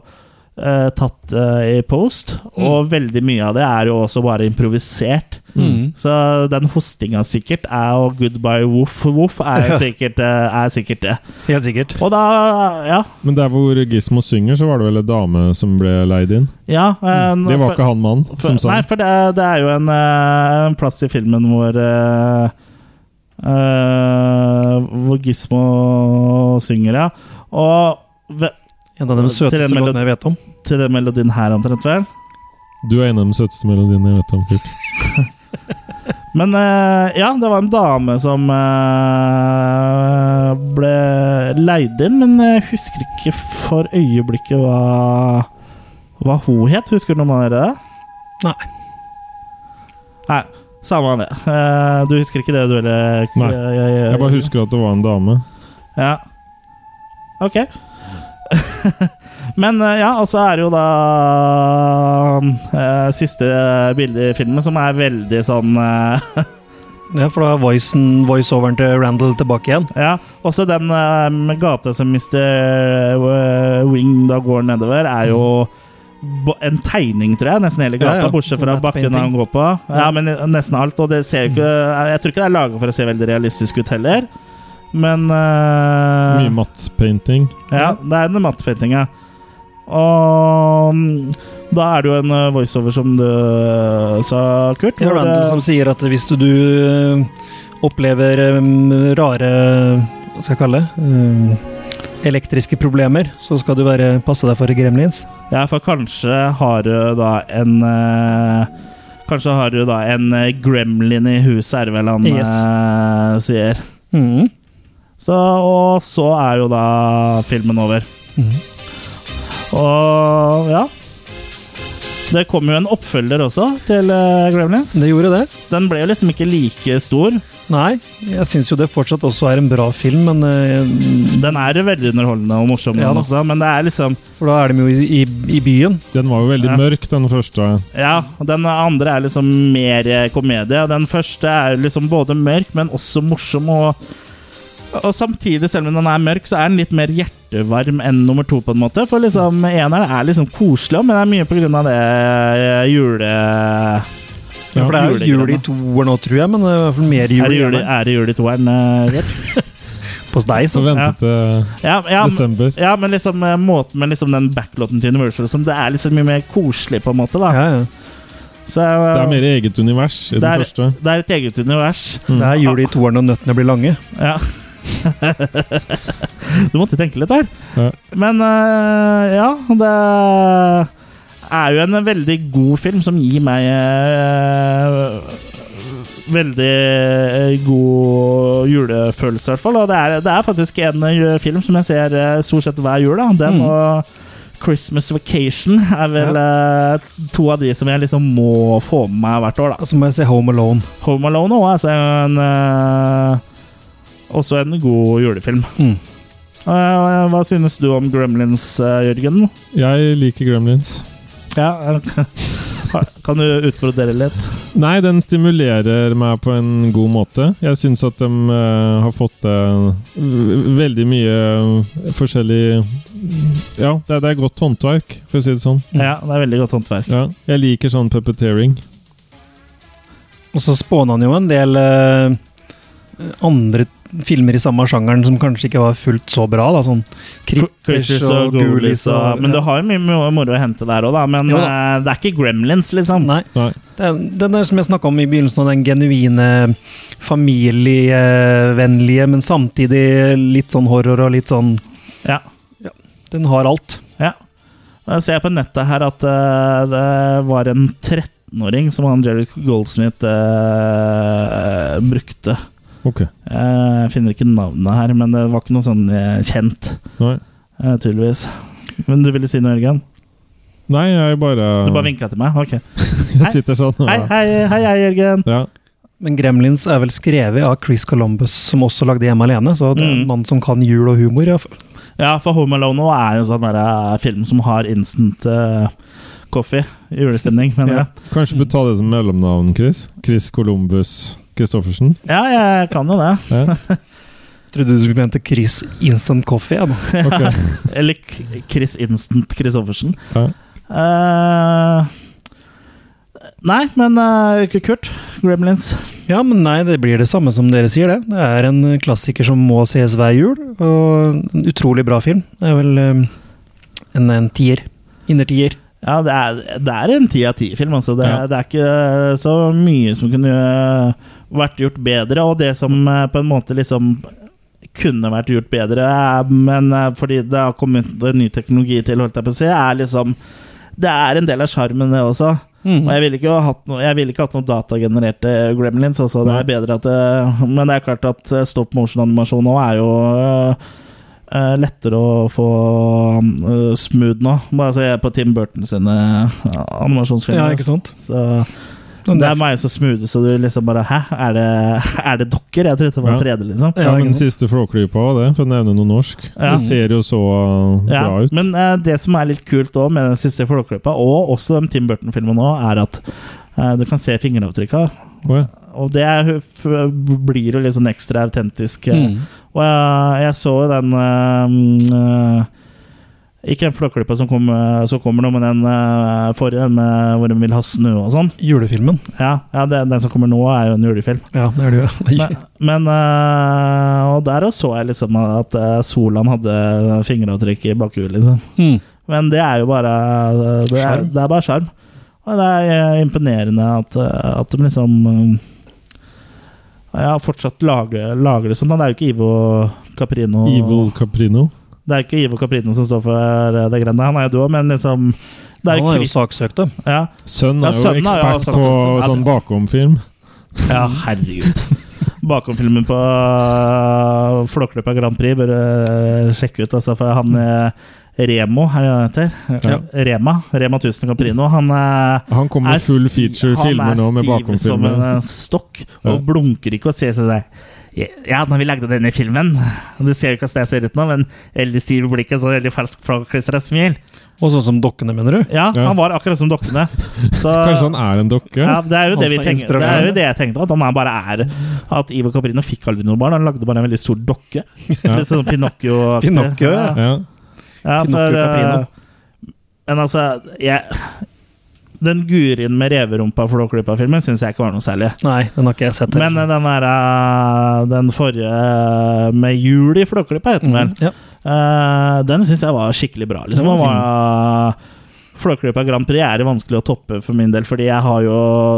eh, tatt eh, i post,
Mm.
og veldig mye av det er jo også bare improvisert.
Mm.
Så den hostinga sikkert er og 'goodbye woof woof' er sikkert, eh, er sikkert det.
Helt sikkert.
Og da, ja
Men der hvor Gismo synger, så var det vel en dame som ble leid inn?
ja, eh,
Mm. Det var ikke han mannen
For,
som sånn.
nei,
sang.
for det, er- det er jo en, eh, en plass i filmen hvor eh, eh, Hvor Gismo synger, ja. Og ve-
En av de
Til
søteste
en melodi-
låtene jeg vet om.
til den melodien her, omtrent vel.
Du er en av de søteste melodiene jeg vet om. Kurt.
Men eh, ja, det var en dame som eh, ble leid inn, men jeg husker ikke for øyeblikket hva, hva hun het. Husker noen av dere det?
Nei.
Nei, samme av det. Eh, du husker ikke det du ville
Nei, Jeg
Eh,
bare husker at det var en dame.
Ja. Ok. Men eh, ja, og så er det jo da eh, siste bilde i filmen, som er veldig sånn eh,
Ja, for da er voicen- voiceoveren til Randall tilbake igjen.
Ja. Også den eh, med gata som Mr. Wing da går nedover, er jo bo- en tegning, tror jeg, nesten hele gata,
Ja, ja.
bortsett fra
Matte
bakken
painting. Mm.
han går på. Ja, men eh, nesten alt, og det ser jo ikke Jeg tror ikke det er laget for å se veldig realistisk ut heller, men eh,
Mye mattpainting.
Ja,
Mm.
det er den mattefettinga. Og mm, da er det jo en eh, voiceover som du eh, sa, Kurt.
Ja,
hvor det-
Randall som sier at hvis du, du eh, opplever eh, rare Hva skal jeg kalle det? Eh, elektriske problemer, så skal du være, passe deg for gremlins.
ja, for kanskje har du da en eh, Kanskje har du da en eh, gremlin i huset, er det vel han
Yes.
eh, sier.
Mhm.
Så, og så er jo da filmen over.
Mm.
Og ja Det kom jo en oppfølger også til eh, Gremlins.
Det gjorde det.
Den ble jo liksom ikke like stor.
Nei, jeg syns jo det fortsatt også er en bra film, men eh,
Den er veldig underholdende og morsom,
Ja
den
da.
også, men det er liksom
For da er de jo i, i, i byen.
Den var jo veldig
Ja.
mørk, den første.
Ja, den andre er liksom mer eh, komedie. og Den første er liksom både mørk, men også morsom. Og, og samtidig, selv om den er mørk, så er den litt mer hjertevarm enn nummer to. på en måte For liksom eneren er liksom koselig, men det er mye på grunn av det eh, jule...
Ja, for det er jo jul i
julegreiene.
toer nå, tror jeg, men det er i hvert fall mer
Er
jul
det jul,
igjen
er det jul i toeren? eh, Gert?
hos deg.
Så
Så.
ventet til
Ja, ja, men-
desember.
ja, men liksom eh, måten med liksom den backloten til Universal og sånn, det er liksom mye mer koselig, på en måte. da
Ja, ja.
Så, eh,
Det er mer eget univers i
Det
den
er-
første.
Det er et eget univers.
Det er jul i toeren når nøttene blir lange.
Ja. du måtte tenke litt der.
Ja.
Men eh, ja, det er jo en veldig god film som gir meg eh, Veldig eh, god julefølelse, i hvert fall. Og det er, det er faktisk en eh, film som jeg ser eh, stort sett hver jul. Da. Den og Christmas Vacation er vel eh, to av de som jeg liksom må få med meg hvert år. da
Så må jeg se Home Alone.
Home Alone òg altså en eh, Også en god julefilm.
Mm.
Eh, hva synes du om Gremlins, eh, Jørgen?
Jeg liker Gremlins.
Ja, Kan du utbrodere litt?
Nei, den stimulerer meg på en god måte. Jeg syns at de eh, har fått eh, v- veldig mye eh, forskjellig Ja, det, er- det er godt håndverk, for å si det sånn.
Mm.
Ja, det er veldig godt håndverk.
Ja, jeg liker sånn puppeteering.
Og så spåna han jo en del eh, andre filmer i samme sjangeren som kanskje ikke var fullt så bra. da, Sånn Critters og Goolies og
Men du
ja.
har jo mye mo- moro å hente der òg, da. Men
Jo da.
eh, det er ikke Gremlins, liksom.
Nei.
Nei.
det er- Den der som jeg snakka om i begynnelsen, av den genuine, familievennlige, men samtidig litt sånn horror og litt sånn
Ja.
Den har alt.
Ja. Jeg ser på nettet her at eh, det var en 13-åring som han Jerry Goldsmith eh, brukte.
Ok.
Eh, Jeg finner ikke navnet her, men det var ikke noe sånn eh, kjent,
Nei,
eh, tydeligvis. Men du ville si noe, Jørgen?
Nei jeg bare
Du bare vinka til meg? Ok.
Jeg sitter sånn og
Hei, hei, hei, hei Jørgen.
Ja.
Men Gremlins er vel skrevet av Chris Columbus, som også lagde Hjemme alene. Så det er en
Mm.
mann som kan jul og humor. Ja.
Ja, for Home Alone nå er jo en sånn der, eh, film som har instant eh, coffee. Julestemning, mener jeg.
Kanskje du tar det som mellomnavn, Chris? Chris Columbus Christoffersen?
Ja, jeg kan jo det.
Ja.
Trodde du skulle mente Chris Instant Coffee. Ja, da.
ok.
Eller K- Chris Instant Christoffersen.
Ja.
Eh, nei, men eh, K- Kurt, Gremlins.
ja, men nei, det blir det samme som dere sier, det. Det er en klassiker som må ses hver jul, og en utrolig bra film. Det er vel eh, en, en tier. Innertier.
Ja, det er, det er en ti av ti-film. Altså. Det, er-
Ja.
det er ikke eh, så mye som kunne eh, vært gjort bedre, og det som eh, på en måte liksom kunne vært gjort bedre, eh, men eh, fordi det har kommet en ny teknologi til, holdt jeg på å si, er liksom Det er en del av sjarmen, det også.
Mhm.
Og jeg ville ikke ha hatt noe, jeg ville ikke hatt noe datagenererte gremlins. Altså, det er bedre at det, Men det er klart at eh, stop motion-animasjon nå er jo eh, eh, lettere å få eh, smooth nå. Bare se på Tim Burton sine eh,
Ja,
animasjonsfilmer.
ikke sant?
så
Men
de
det-
er meg så smooth, så du liksom bare Hæ, er det, er det dokker? Jeg trodde det var
Ja.
3D, liksom.
Ja,
ikke
men
sant?
siste flåklypa var det, for å nevne noe norsk.
Ja.
Det ser jo så uh,
Ja,
bra ut.
men eh, det som er litt kult også med den siste Flåklypa, og også den Tim Burton-filmen nå, er at eh, du kan se fingeravtrykka.
Å, ja.
Og det er, f- blir jo litt sånn ekstra autentisk. eh.
Mm.
Og jeg, jeg så jo den eh, eh, Ikke den flåklypa som, kom, eh, som kommer nå, men den eh, forrige, den med hvor de vil ha snø og sånn.
Julefilmen.
Ja, ja den, den som kommer nå, er jo en julefilm.
Ja, det er det jo.
Men, men eh, Og der også så jeg liksom at eh, Solan hadde fingeravtrykk i bakhjulet, liksom.
Mm.
Men det er jo bare eh, Det er,
Skjerm.
det er bare sjarm. Og det er eh, imponerende at, eh, at de liksom eh, Ja, fortsatt lager, lager det sånn. da. Det er jo ikke Ivo Caprino
Evil Caprino.
Det er ikke Ivo Caprino som står for eh, det greiene. Han er jo død, men liksom Det er
Han
jo
er jo
Chris
saksøkt, da.
ja.
Sønnen
Ja,
er jo
sønnen er jo
ekspert
også-
på
Ja,
sånn
det-
bakomfilm.
ja, herregud. Bakomfilmen på uh, Flåklypa Grand Prix bør eh, sjekke ut, altså, for han eh, Remo, er det han heter? Rema. Rema 1000 Caprino. Han er
Mm. Han kommer
Er
med full feature-filmer nå med
Han er stiv som en
bakomfilmer.
eh, stokk og
Ja.
blunker ikke og ser seg seg. Ja, når vi lagde denne filmen Du ser jo ikke hvordan jeg ser ut nå, men veldig stiv i blikket, så veldig falsk påklistra smil.
Og sånn som dokkene, mener du?
Ja,
Ja.
han var akkurat som dokkene. Så
Kanskje han er en dokke?
ja, det er jo
Han
det, vi
som er
tenker, det er jo
inspirasjonen.
det jeg tenkte, at han er bare er At Ivo Caprino fikk aldri noe barn. Han lagde bare en veldig stor dokke. Litt sånn Pinocchio.
Pinocchio, ja.
Ja.
Ja,
Pinocchio
for
Caprino.
eh, Men altså jeg, Den gurien med reverumpa Flåklypa-filmen syns jeg ikke var noe særlig.
Nei, den har ikke jeg sett. heller.
Men eh, den der eh, Den forrige eh, med hjul i Flåklypa, het den vel.
Mhm, ja.
Eh, Den syns jeg var skikkelig bra. Liksom. Den var Flåklypa Grand Prix er det vanskelig å toppe for min del, fordi jeg har jo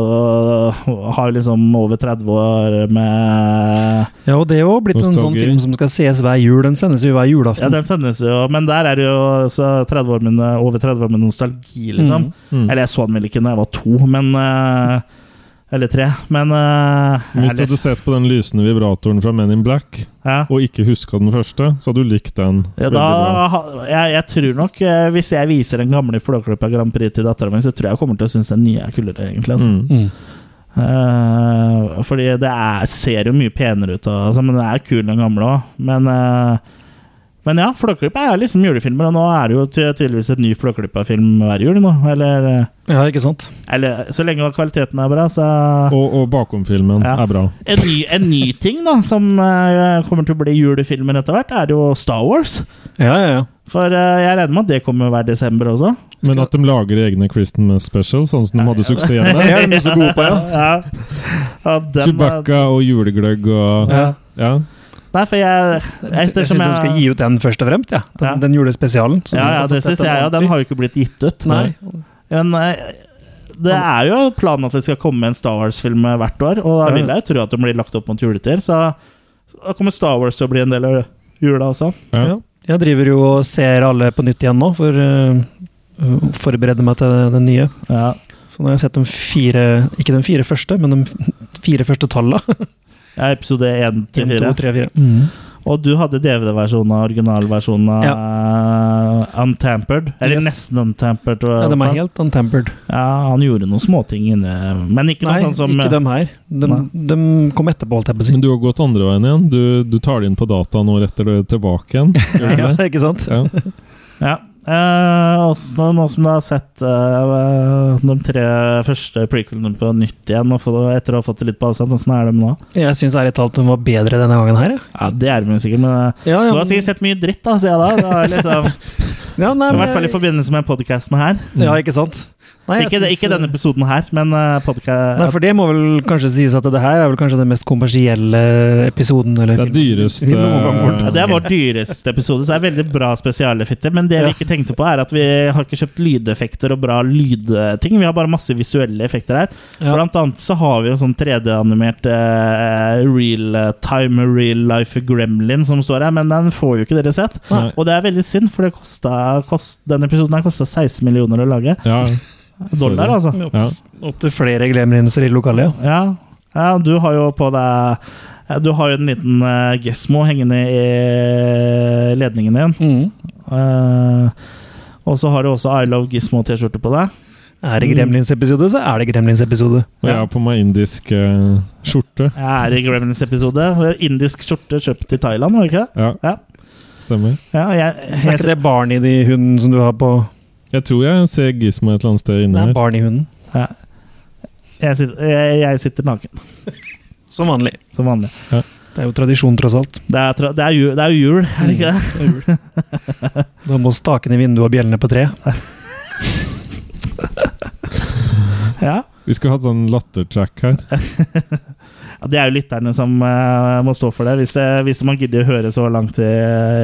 Har jo liksom over 30 år med
Ja, og det er jo blitt en sånn
Nostalgi.
film som skal ses hver jul. Den sendes jo hver
Ja,
julaften.
den sendes jo, men der er det jo så 30 år med, over 30 år med nostalgi, liksom.
Mm.
Eller jeg så den vel ikke når jeg var to, men eh, Eller tre, men eh,
Hvis du
eller,
hadde sett på den lysende vibratoren fra Men in Black,
ja.
og ikke huska den første, så hadde du likt den.
Ja, da,
veldig bra.
ha- jeg, jeg tror nok eh, Hvis jeg viser den gamle Flåklypa Grand Prix til dattera mi, så tror jeg hun kommer til å synes den nye er kulere. egentlig altså.
Mm.
Mm.
Eh, Fordi sånn, det er, ser jo mye penere ut, og, altså, men den er kul, den gamle òg. Men, eh, Men ja, Flåklypa er liksom julefilmer, og nå er det jo ty tydeligvis et ny Flåklypa-film hver jul nå. Eller,
Ja, ikke sant?
eller så lenge kvaliteten er bra, så
Og, og bakomfilmen
Ja.
er bra.
en ny, en ny ting da, som eh, kommer til å bli julefilmer etter hvert, er jo Star Wars.
Ja, ja, ja.
For eh, jeg regner med at det kommer hver desember også.
Men at de lager egne Christmas special, sånn som de hadde suksess med.
Det er de så gode på, ja.
Ja. At dem, eh,
Chewbacca og julegløgg og
Ja.
Ja.
Nei, for jeg
Jeg syns
Ettersom
de skal
jeg
gi ut den først og fremst, ja. den,
Ja.
den julespesialen. så
Ja,
vi
ja,
kan få
det
sett
syns jeg. Ja, den har jo ikke blitt gitt ut.
Nei.
Men eh, det er jo planen at det skal komme en Star Wars-film hvert år, og da
Ja.
vil jeg jo tro at den blir lagt opp mot juletider. Så da kommer Star Wars til å bli en del av jula også.
Ja.
Ja. Jeg driver jo og ser alle på nytt igjen nå, for eh, å forberede meg til den nye.
Ja.
Så nå har jeg sett de fire, ikke de fire første, men de fire første tallene.
Ja, episode 1 til
En,
4.
to, tre, fire. Mm.
Og du hadde DVD-versjonen av originalversjonen av eh, Untampered. Eller
Yes.
nesten Untampered. tror jeg
Ja,
i
de
hvert
er
fall.
helt untempered.
ja, han gjorde noen småting inne, men ikke
Nei,
noe sånn som
ikke de her. De, de kom etterpå, holdt jeg på å si.
Men du har gått andre veien igjen. Du, du tar det inn på data nå rett eller tilbake igjen. Gjør du
Ja,
det?
ikke sant?
Ja.
Ja. Eh, også, nå som du har sett eh, de tre første prequelene på nytt igjen, og få, etter å ha fått det litt på avstand, åssen er de nå?
Jeg syns ærlig talt de var bedre denne gangen her, jeg.
Ja, Det er de jo sikkert, men eh,
ja.
du har sikkert sett mye dritt da, siden da. Det har liksom,
ja, nei,
I
men-
hvert fall i forbindelse med podkasten her.
Ja, ikke sant? Nei, jeg
Ikke,
syns-
ikke denne episoden her, men uh,
Nei, for det må vel kanskje sies at det her er vel kanskje den mest kommersielle episoden. Eller
Det er dyreste-
vi noen gang kommer til
Ja, det
å se.
er vår dyreste episode, så det er veldig bra spesialeffekter. Men det vi
Ja.
ikke tenkte på, er at vi har ikke kjøpt lydeffekter og bra lydting. Vi har bare masse visuelle effekter her.
Ja.
Blant annet så har vi jo sånn 3D-animert eh, real time, real life gremlin som står her, men den får jo ikke dere sett.
Nei.
Og det er veldig synd, for det kosta, kost, den episoden her kosta 16 millioner å lage.
Ja.
Dollar, altså.
ja.
Opptil flere glemrinser i lokalet, ja.
Ja, ja du har jo på deg ja, Du har jo en liten uh, Gesmo hengende i ledningen din. Eh, og så har du også I Love Gizmo-T-skjorte på deg.
Er det Gremlins-episode, så er det Gremlins-episode.
Og jeg har på meg indisk eh, skjorte.
Jeg er i Gremlins-episode. Indisk skjorte kjøpt i Thailand, var det ikke det?
Ja,
Ja.
stemmer.
Ja, jeg,
Er
jeg,
ikke det barn i de hunden som du har på
Jeg tror jeg ser Gismo et eller annet sted inne
Nei,
her.
barn i hunden.
ja. jeg, sitter, jeg, jeg sitter naken,
Som vanlig.
som vanlig.
Det er jo tradisjon, tross alt.
Det er, tra- det er, jul, det er jo jul, er det ikke det?
Da må stakene i vinduet og bjellene på tre.
Ja.
Vi skulle hatt sånn lattertrack her.
Ja, Det er jo lytterne som eh, må stå for det, hvis, det, hvis man gidder å høre så langt i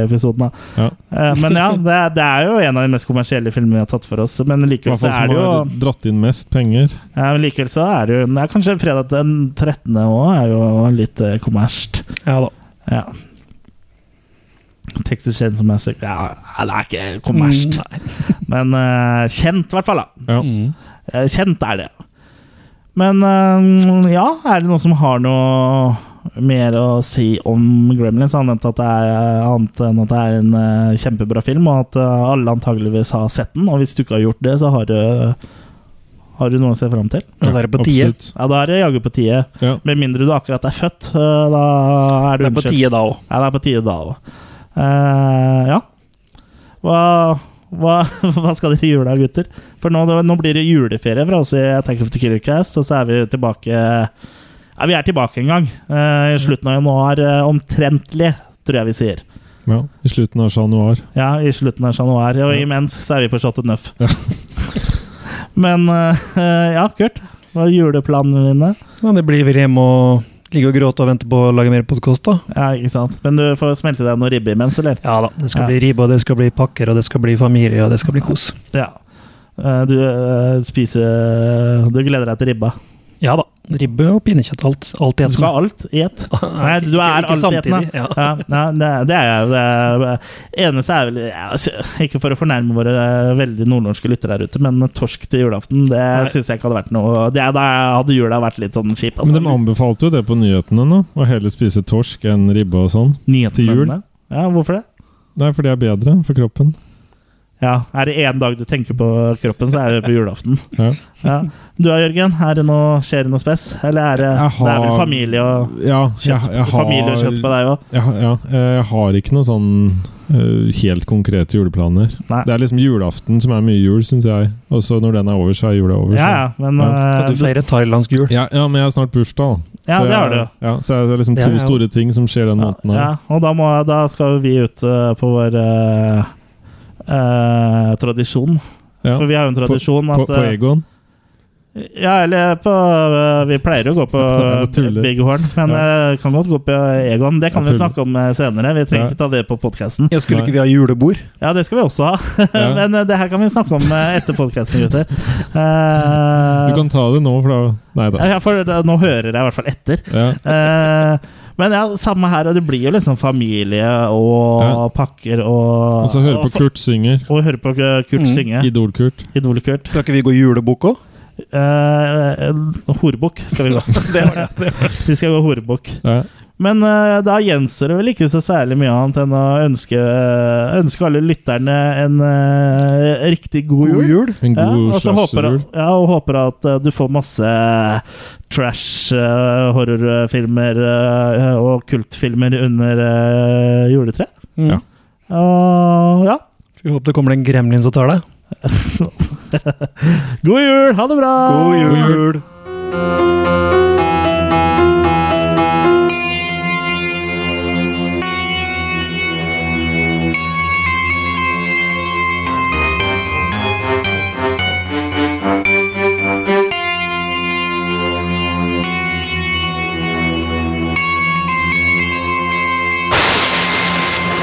episoden. Da.
Ja.
Eh, men ja, det, er- det er jo en av de mest kommersielle filmene vi har tatt for oss. Men
I
likevel
hvert
så
fall
er
som
det jo
har dratt inn mest penger.
ja, men likevel så er det jo ja, Kanskje fredag den 13. òg er jo litt eh, kommersielt.
Ja da.
Ja. Texas Chainsaw som jeg søker Ja, det er ikke kommersielt, men eh, kjent i hvert fall. da
Ja.
Eh, Kjent er det. Men eh, ja, er det noen som har noe mer å si om Gremlins, annet enn at det er, eh, annet enn at det er en eh, kjempebra film, og at eh, alle antageligvis har sett den? Og hvis du ikke har gjort det, så har du, har du noe å se fram til?
Da er det på tide.
absolutt.
Ja, da er det jaggu på tide.
Ja.
Med mindre du akkurat er født. eh, Da er du
Det er på
unnskyldt.
tide da òg.
Ja, det er på tide da òg. ja. Hva, hva, hva skal dere gjøre da, gutter? For nå, nå blir det juleferie fra oss i Attack of the Killer Cast, og så er vi tilbake Ja, vi er tilbake en gang. eh, I slutten av januar, eh, omtrentlig, tror jeg vi sier.
Ja. I slutten av januar.
Ja, i slutten av januar. Og imens så er vi på Shot and Nuff. Men eh, ja, Kurt. Hva er juleplanene dine?
Ja, det blir vel hjemme og ligge og gråte og vente på å lage mer podkast, da.
Ja, ikke sant? Men du får smelte deg noe ribbe imens, eller?
Ja da. Det skal
Ja.
bli ribbe, og det skal bli pakker, og det skal bli familie, og det skal bli kos.
Ja. Eh, Du eh, spiser eh, Du gleder deg til ribba.
Ja da. Ribbe og pinnekjøtt, alt, alt i
Du
ett.
skal ha alt i ett. Nei, du er
Ikke- ikke
altetende.
samtidig, ja.
Ja, ja, det, er- det er jeg. Det er, eh, eneste er vel ja, altså, Ikke for å fornærme våre eh, veldig nordnorske lyttere her ute, men torsk til julaften, det syns jeg ikke hadde vært noe det, Da hadde jula vært litt sånn kjip.
Men de
Altså.
anbefalte jo det på nyhetene nå. Å heller spise torsk enn ribbe og sånn.
Nyhetene.
til jul.
Ja, hvorfor det?
Nei, for det er bedre for kroppen.
Ja, Er det én dag du tenker på kroppen, så er det på julaften.
Ja.
Ja. Du da, Jørgen? Er det noe, skjer det noe spes? Eller er det,
Jeg har-
det er vel familie og
Ja, jeg,
kjøtt,
jeg har
familie og kjøtt på deg òg?
Ja, ja. Eh, Jeg har ikke noen sånn eh, helt konkrete juleplaner.
Nei.
Det er liksom julaften som er mye jul, syns jeg. Og så når den er over, så er jula over. så-
Ja, ja, men
Skal du
eh,
feire thailandsk jul?
Ja, ja, men jeg har snart bursdag, da.
Ja,
så
det
jeg,
har du.
Ja, så det er liksom to
Det har jeg jo.
store ting som skjer den
Ja,
måneden. eh, her.
Ja, og da, må, da skal jo vi ut eh, på vår eh, eh, tradisjon.
Ja.
For vi har jo en tradisjon
På,
at
på
eh,
Egon.
Ja, eller på eh, Vi pleier jo å gå på
Jeg tuller.
Big Horn, men eh, kan godt gå på Egon. Det kan vi
Jeg tuller.
snakke om eh, senere. Vi
Ja.
trenger ikke ta det på podkasten.
Ja, skulle
Nei.
ikke vi ha julebord?
Ja, det skal vi også ha.
Ja.
men eh, det her kan vi snakke om eh, etter podkasten, gutter. Eh,
Du kan ta det nå, for da Nei da.
ja, for da- nå hører jeg i hvert fall etter.
Ja.
Eh, men ja, samme her. og Det blir jo liksom familie og
Ja.
pakker og
Og så høre på
og-
Kurt synger.
Og høre på Kurt
Mm.
synge.
Idol-Kurt.
Idol-Kurt.
Skal ikke vi gå julebukk òg?
Eh, Horebukk skal vi gå. vi skal gå horebukk.
Ja.
Men eh, da gjenstår det vel ikke så særlig mye annet enn å ønske, eh, ønske alle lytterne en eh, riktig god jul.
En
Ja,
god
og så håper,
slasherjul.
ja, og håper at eh, du får masse eh, trash eh, horrorfilmer eh, og kultfilmer under eh, juletreet.
Mm.
Ja.
Og ja,
Skal vi håpe det kommer en gremlin som tar deg.
god jul! Ha det bra!
jul!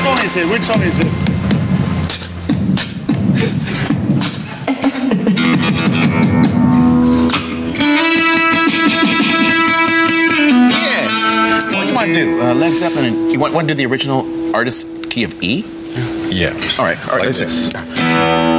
song is it? Which song is it?
Yeah. What do you want to do? Uh, Led Zeppelin. And you want, want to do the original artist key of E? Yeah. All right. All right. listen.